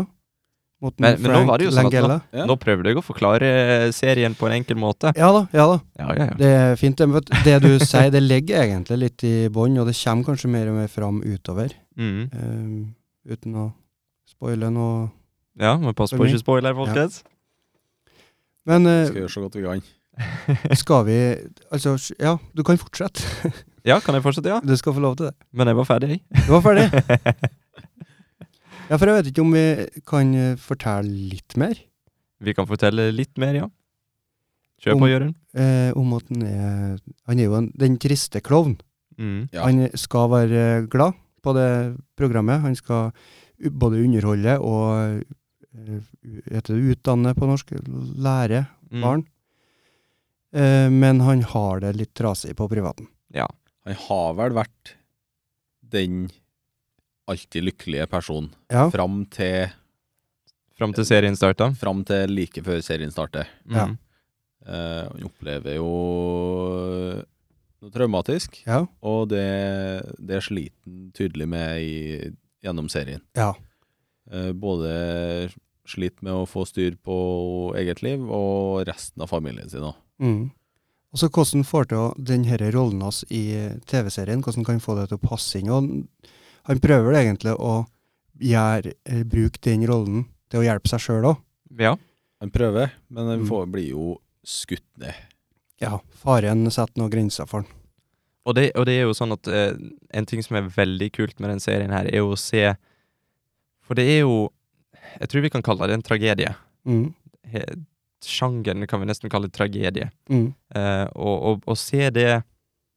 Mot
Men-
Frank
men nå var det jo sånn at
Langella.
Ja.
Nå prøvde jeg å forklare eh, serien på en enkel måte.
Ja da, ja da.
Ja, ja, ja.
Det er fint. det, Men vet, du, det du sier, det ligger egentlig litt i bånn, og det kommer kanskje mer og mer fram utover.
Mhm.
eh, uten å spoile noe.
ja men pass på å ikke spoile, folkens.
Men eh,
Skal gjøre så godt vi kan.
skal vi Altså, ja, du kan fortsette.
Ja, kan jeg fortsette, ja?
Du skal få lov til det.
Men jeg var ferdig, jeg.
Du var ferdig.
(laughs)
Ja, for jeg vet ikke om vi kan eh, fortelle litt mer
Vi kan fortelle litt mer, ja. Kjør
Om-
på, Jørund.
eh, om at han er Han er jo en, den triste klovn.
Mhm.
Ja.
Han skal være glad på det programmet. Han skal u- både underholde og eh, u- heter det utdanne på norsk, lære
Mhm.
barn. Eh, men han har det litt trasig på privaten.
Han har vel vært den alltid lykkelige personen
Ja,
fram til,
Fram til serien starta.
fram til like før serien starter.
Mhm.
Ja.
Eh, han opplever jo noe traumatisk,
ja,
og det, det sliter han tydelig med i, gjennom serien.
ja.
Eh, både sliter med å få styr på eget liv og resten av familien sin òg.
Mm. Og så hvordan får til å- den denne rollen hans i TV-serien, hvordan kan han få det til å passe inn? Og han prøver det egentlig å gjøre, eh, bruke den rollen til å hjelpe seg sjøl òg.
ja.
Han prøver, men han
Mm.
får, blir jo skutt ned.
Ja, faren setter noen grenser for han.
Og det, og det er jo sånn at eh, en ting som er veldig kult med den serien her, er jo å se For det er jo Jeg tror vi kan kalle det en tragedie.
Mm.
He, sjangeren kan vi nesten kalle tragedie.
Mm.
Eh, og, og, og se det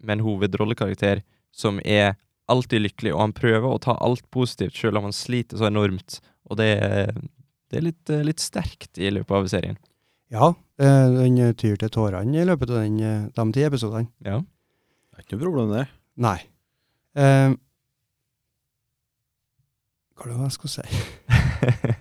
med en hovedrollekarakter som er alltid lykkelig, og han prøver å ta alt positivt, selv om han sliter så enormt. Og det, er- det er litt, eh, litt sterkt i løpet av serien.
Ja, eh, den eh, tyr til tårene i løpet av den, eh, de ti episodene.
Ja.
Det er ikke noe problem, det.
Nei. Eh, hva var det jeg skulle si?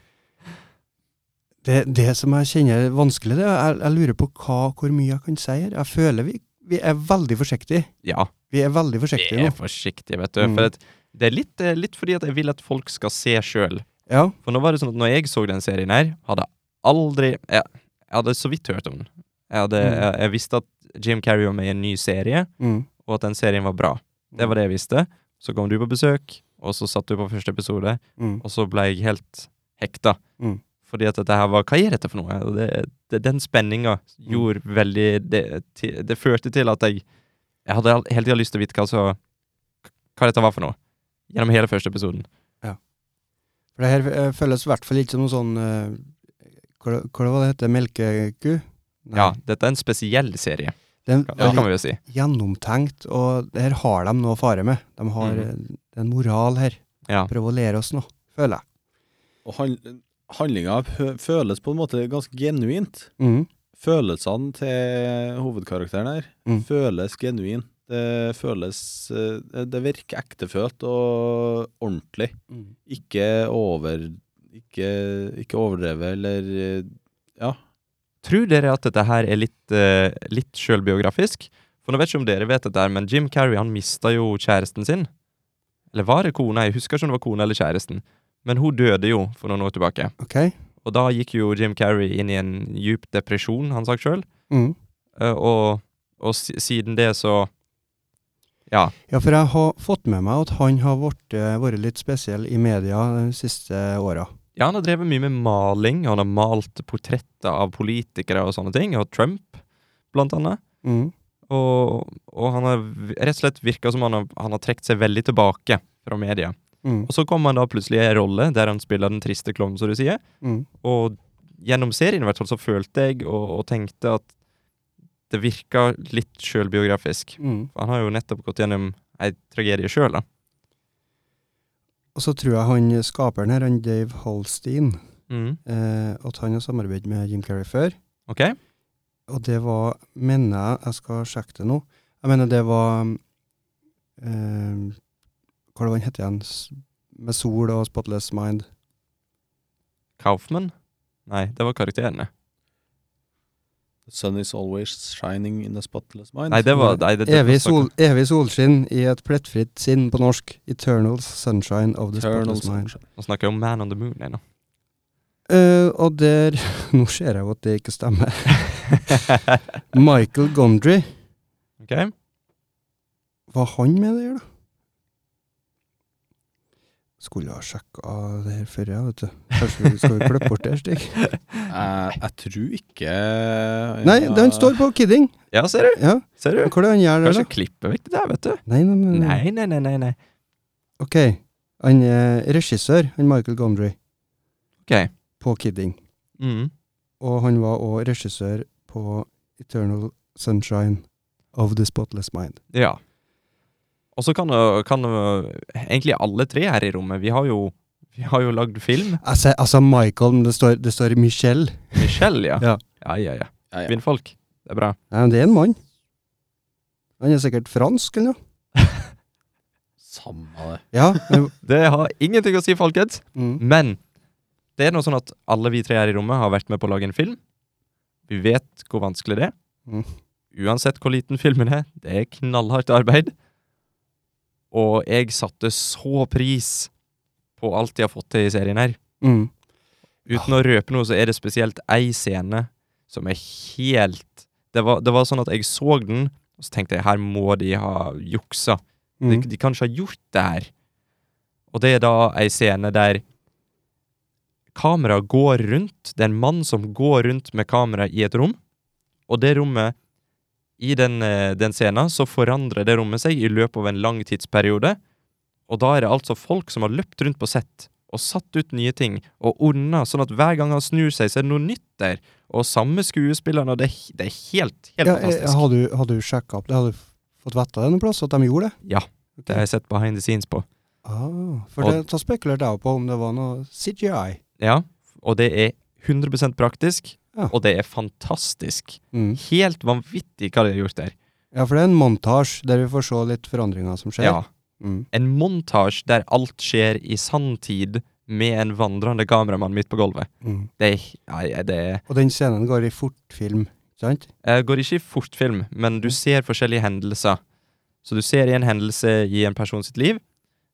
Det, det som jeg kjenner er vanskelig, det er jeg, jeg lurer på hva, hvor mye jeg kan si her. Jeg føler vi, vi er veldig forsiktige.
(laughs) ja.
Vi er veldig
Vi
forsiktige
er
nå.
forsiktige, vet du.
Mm.
For at det er litt, eh, litt fordi at jeg vil at folk skal se sjøl.
Ja,
For nå var det sånn at når jeg så den serien her, hadde jeg aldri Jeg, jeg hadde så vidt hørt om den. Jeg, hadde,
Mm.
jeg, jeg visste at Jim Carrey var med i en ny serie,
mm.
og at den serien var bra. Det var det jeg visste. Så kom du på besøk, og så satt du på første episode,
Mm.
og så ble jeg helt hekta.
Mm.
Fordi at dette her var Hva er dette for noe? Og Det, det, den spenninga gjorde veldig det, ti- det førte til at jeg Jeg hadde al- hele tida lyst til å vite hva, så, hva dette var for noe. Gjennom hele første episoden.
For det her eh, føles i hvert fall ikke som noe sånn eh, Hva hva var det det heter? Melkeku? Nei.
Ja, dette er en spesiell serie.
Det er
Ja,
veldig
det kan vi jo si.
gjennomtenkt, og det her har de noe å fare med. De har
Mhm.
eh, det er en moral her.
Ja.
Prøv å lære oss noe, føler jeg.
Og han, handlinga hø- føles på en måte ganske genuint.
Mhm.
Følelsene til hovedkarakteren her
Mm.
føles genuin. Det føles eh, Det virker ektefølt og ordentlig.
Mm.
Ikke over Ikke, ikke overdrevet eller eh,
Tror dere at dette her er litt, eh, litt sjølbiografisk? For nå vet ikke om dere vet dette, her, men Jim Carrey han mista jo kjæresten sin. Eller var det kona? Jeg husker ikke om det var kona eller kjæresten. Men hun døde jo for noen år tilbake.
Ok?
Og da gikk jo Jim Carrey inn i en djup depresjon, han sa sjøl.
Mhm.
Og, og si- siden det så Ja.
Ja, for jeg har fått med meg at han har vært, eh, vært litt spesiell i media de siste åra.
Ja, han har drevet mye med maling. Han har malt portretter av politikere og sånne ting. Og Trump, blant annet.
Mm.
Mhm. Og, og han har v- rett og slett virka som han har, han har trukket seg veldig tilbake fra media.
Mm.
Og så kommer han da plutselig i en rolle der han spiller den triste klovnen, som du sier.
Mm.
Og gjennom serien i hvert fall så følte jeg og, og tenkte at det virka litt sjølbiografisk.
Mm.
For Han har jo nettopp gått gjennom ei tragedie sjøl, da.
Og så tror jeg han skaperen her, han Dave Holstein, eh, at han har samarbeidet med Jim Carrey før.
OK?
Og det var, mener jeg, jeg skal sjekke det nå, jeg mener det var eh, Hva var den het igjen? S- Med sol og spotless mind.
Kaufman? Nei, det var karakterene.
The sun is always shining in a spotless mind.
Nei, det var nei, det, det,
Evig,
var
sol, evig solskinn i et plettfritt sinn på norsk. Eternal sunshine of the
Eternal
spotless mind.
sunshine.
Nå snakker jeg om Man on the Moon
(laughs)
ennå.
Eh, og der (laughs) Nå ser jeg jo at det ikke stemmer. (laughs) Michael Gondry,
ok?
var han med der, da? Skulle ha sjekka det her før, jeg, vet du. Kanskje vi skal vi klippe bort det, Stig?
Eh,
Jeg, jeg tror ikke
Nei, den står på Kidding.
(laughs) Ja, ser du?
Ja,
Ser
men
du?
Hva er det han gjør der,
Kanskje
da?
klippe vekk det der, vet du.
Nei, nei, nei, nei.
Nei, nei, nei, nei. nei.
Ok, han er regissør, han Michael Gondry,
Ok.
på Kidding.
Mm.
Og han var òg regissør på Eternal Sunshine of the Spotless Mind.
Ja. Og så kan, øh, kan øh, egentlig alle tre her i rommet Vi har jo, vi har jo lagd (laughs) film.
Altså, altså Michael, men det står, det står Michelle.
Michelle, ja.
Ja.
ja, ja, ja.
Ja, ja.
Kvinnfolk. Det er bra. (laughs)
Nei, men det er en mann. Han er sikkert fransk, eller noe?
Samme det.
Ja. men-
(laughs) Det har ingenting å si, folkens.
Mm.
Men det er noe sånn at alle vi tre her i rommet har vært med på å lage en film. Vi vet hvor vanskelig det er.
Mm.
Uansett hvor liten filmen er, det er knallhardt arbeid. Og jeg satte så pris på alt de har fått til i serien her.
Mm.
Uten å røpe noe, så er det spesielt ei scene som er helt det var, det var sånn at jeg så den, og så tenkte jeg her må de ha juksa. De,
Mm.
de kan ikke ha gjort det her. Og det er da ei scene der kameraet går rundt. Det er en mann som går rundt med kamera i et rom, og det rommet I den, eh, den scenen så forandrer det rommet seg i løpet av en lang tidsperiode, og da er det altså folk som har løpt rundt på sett og satt ut nye ting og ordna, sånn at hver gang han snur seg, så er det noe nytt der. Og samme skuespillerne, og det, er he- det er helt, helt
Ja, eh,
fantastisk.
hadde du, hadde du sjekka opp det? Hadde du f- fått vite det noen plass, at de gjorde det?
Ja, Det har jeg sett behind the scenes på.
Ah, for
Og-
det, da spekulerte jeg jo på om det var noe CGI.
Ja, og det er 100 praktisk,
Ja.
og det er fantastisk.
Mm.
Helt vanvittig hva de har gjort der.
Ja, for det er en montasje der vi får se litt forandringer som skjer.
Ja.
Mm.
En montasje der alt skjer i sanntid med en vandrende kameramann midt på gulvet.
Mm.
Det er, nei, det er
Og den scenen går i fortfilm, ikke sant?
Jeg går ikke i fortfilm, men
Mm.
du ser forskjellige hendelser. Så du ser en hendelse i en person sitt liv,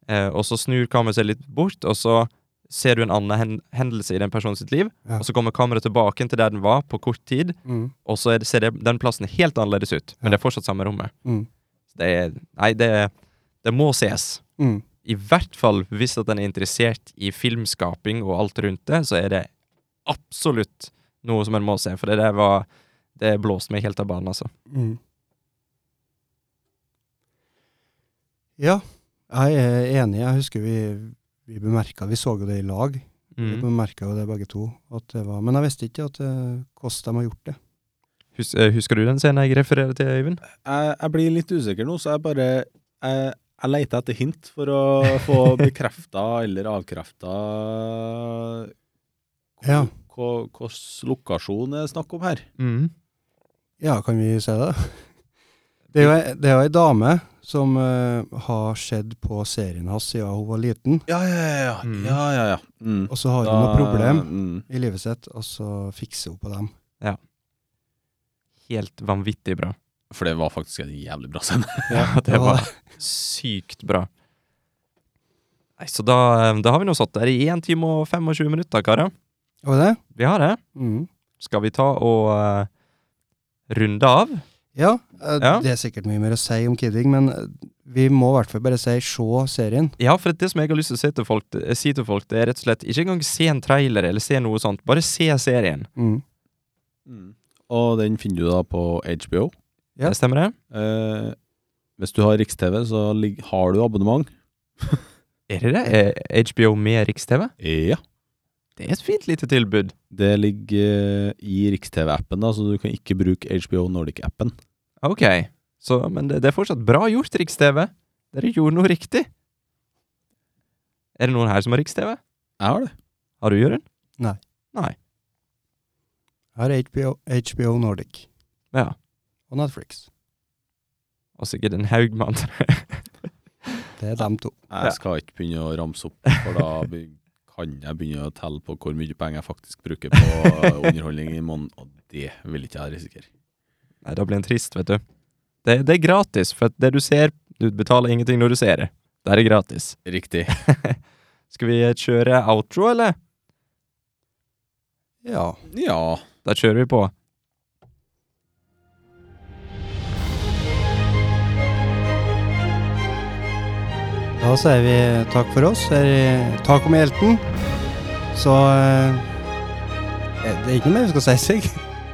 eh, og så snur kameraet seg litt bort, og så ser du en annen hen hendelse i den personen sitt liv,
Ja.
og så kommer kameraet tilbake til der den var på kort tid,
Mm.
og så er det, ser det, den plassen helt annerledes ut, men det er fortsatt samme rommet.
Mm.
Så Det er, nei, det, det må ses.
Mm.
I hvert fall hvis at en er interessert i filmskaping og alt rundt det, så er det absolutt noe som en må se, for det der var Det blåste meg helt av banen, altså.
Mm. Ja, jeg er enig. Jeg husker vi, vi bemerka Vi så jo det i lag. Vi
Mm.
bemerka jo det begge to. At det var, men jeg visste ikke at, eh, hvordan de har gjort det.
Hus, eh, husker du den scenen jeg refererer til, Øyvind?
Jeg, jeg blir litt usikker nå, så jeg bare Jeg, jeg leter etter hint for å (laughs) få bekrefta eller avkrefta
Ja.
hvilken lokasjon det er snakk om her.
Mm.
Ja, kan vi se det? (laughs) Det er jo ei- det er jo ei dame som eh, har sett på serien hans siden hun var liten,
Ja, ja, ja. ja.
Mm.
ja, ja, ja. Mm.
og så har hun noe problem
Mm.
i livet sitt, og så fikser hun på
(laughs)
dem.
Helt vanvittig bra.
For det var faktisk en jævlig bra (laughs) scene.
det
var (laughs)
var sykt bra. Nei, så da, eh, da har vi nå satt der i 1 time og 25 minutter, karer.
Var det det?
Vi har det.
Mm.
Skal vi ta og eh, runde av?
Ja, eh,
Ja.
det er sikkert mye mer å si om Kidding, men eh, vi må i hvert fall bare si se serien.
Ja, for det som jeg har lyst til å si til folk, eh, si til folk det er rett og slett ikke engang se en trailer eller se noe sånt. Bare se serien.
Mm.
Mm. Og den finner du da på HBO.
Ja.
Det stemmer det?
Eh, hvis du har Riks-TV, så lig- har du abonnement.
Er det det? Er HBO med Riks-TV?
Ja.
Det er et fint lite tilbud.
Det ligger eh, i Riks-TV-appen, da, så du kan ikke bruke HBO Nordic-appen.
Ok, så, men det, det er fortsatt bra gjort, Riks-TV. Dere gjorde noe riktig. Er det noen her som har Riks-TV?
Jeg har det.
Har du, Jørund?
Her er HBO, HBO Nordic
Ja.
og Netflix.
Og sikkert en haug med andre.
Det er dem to.
Ja.
Jeg skal ikke begynne å ramse opp, for da be- kan jeg begynne å telle på hvor mye penger jeg faktisk bruker på eh, underholdning i måneden, og det vil ikke jeg risikere.
(laughs) Nei, da blir en trist, vet du. Det, det er gratis, for at det du ser Du betaler ingenting når du ser det. Det er gratis.
Riktig.
Skal vi eh, kjøre outro, eller?
Ja.
Ja.
Da kjører vi på.
Da sier vi takk for oss her i Taco med Hjelten. Så eh, Det er ikke noe mer vi skal si seg.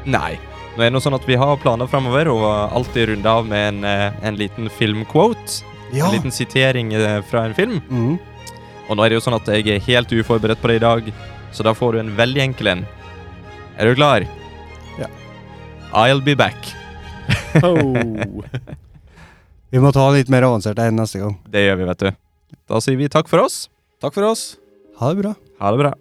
Nei. Nå er det noe sånn at vi har planer framover, og alltid runde av med en, eh, en liten filmquote.
Ja.
En liten sitering eh, fra en film.
Mm.
Og nå er det jo sånn at jeg er helt uforberedt på det i dag, så da får du en veldig enkel en. Er du klar?
Ja.
I'll be back.
Oh.
Vi må ta litt mer avansert enn neste gang.
Det gjør vi, vet du. Da sier vi takk for oss.
Takk for oss.
Ha det bra.
Ha det bra.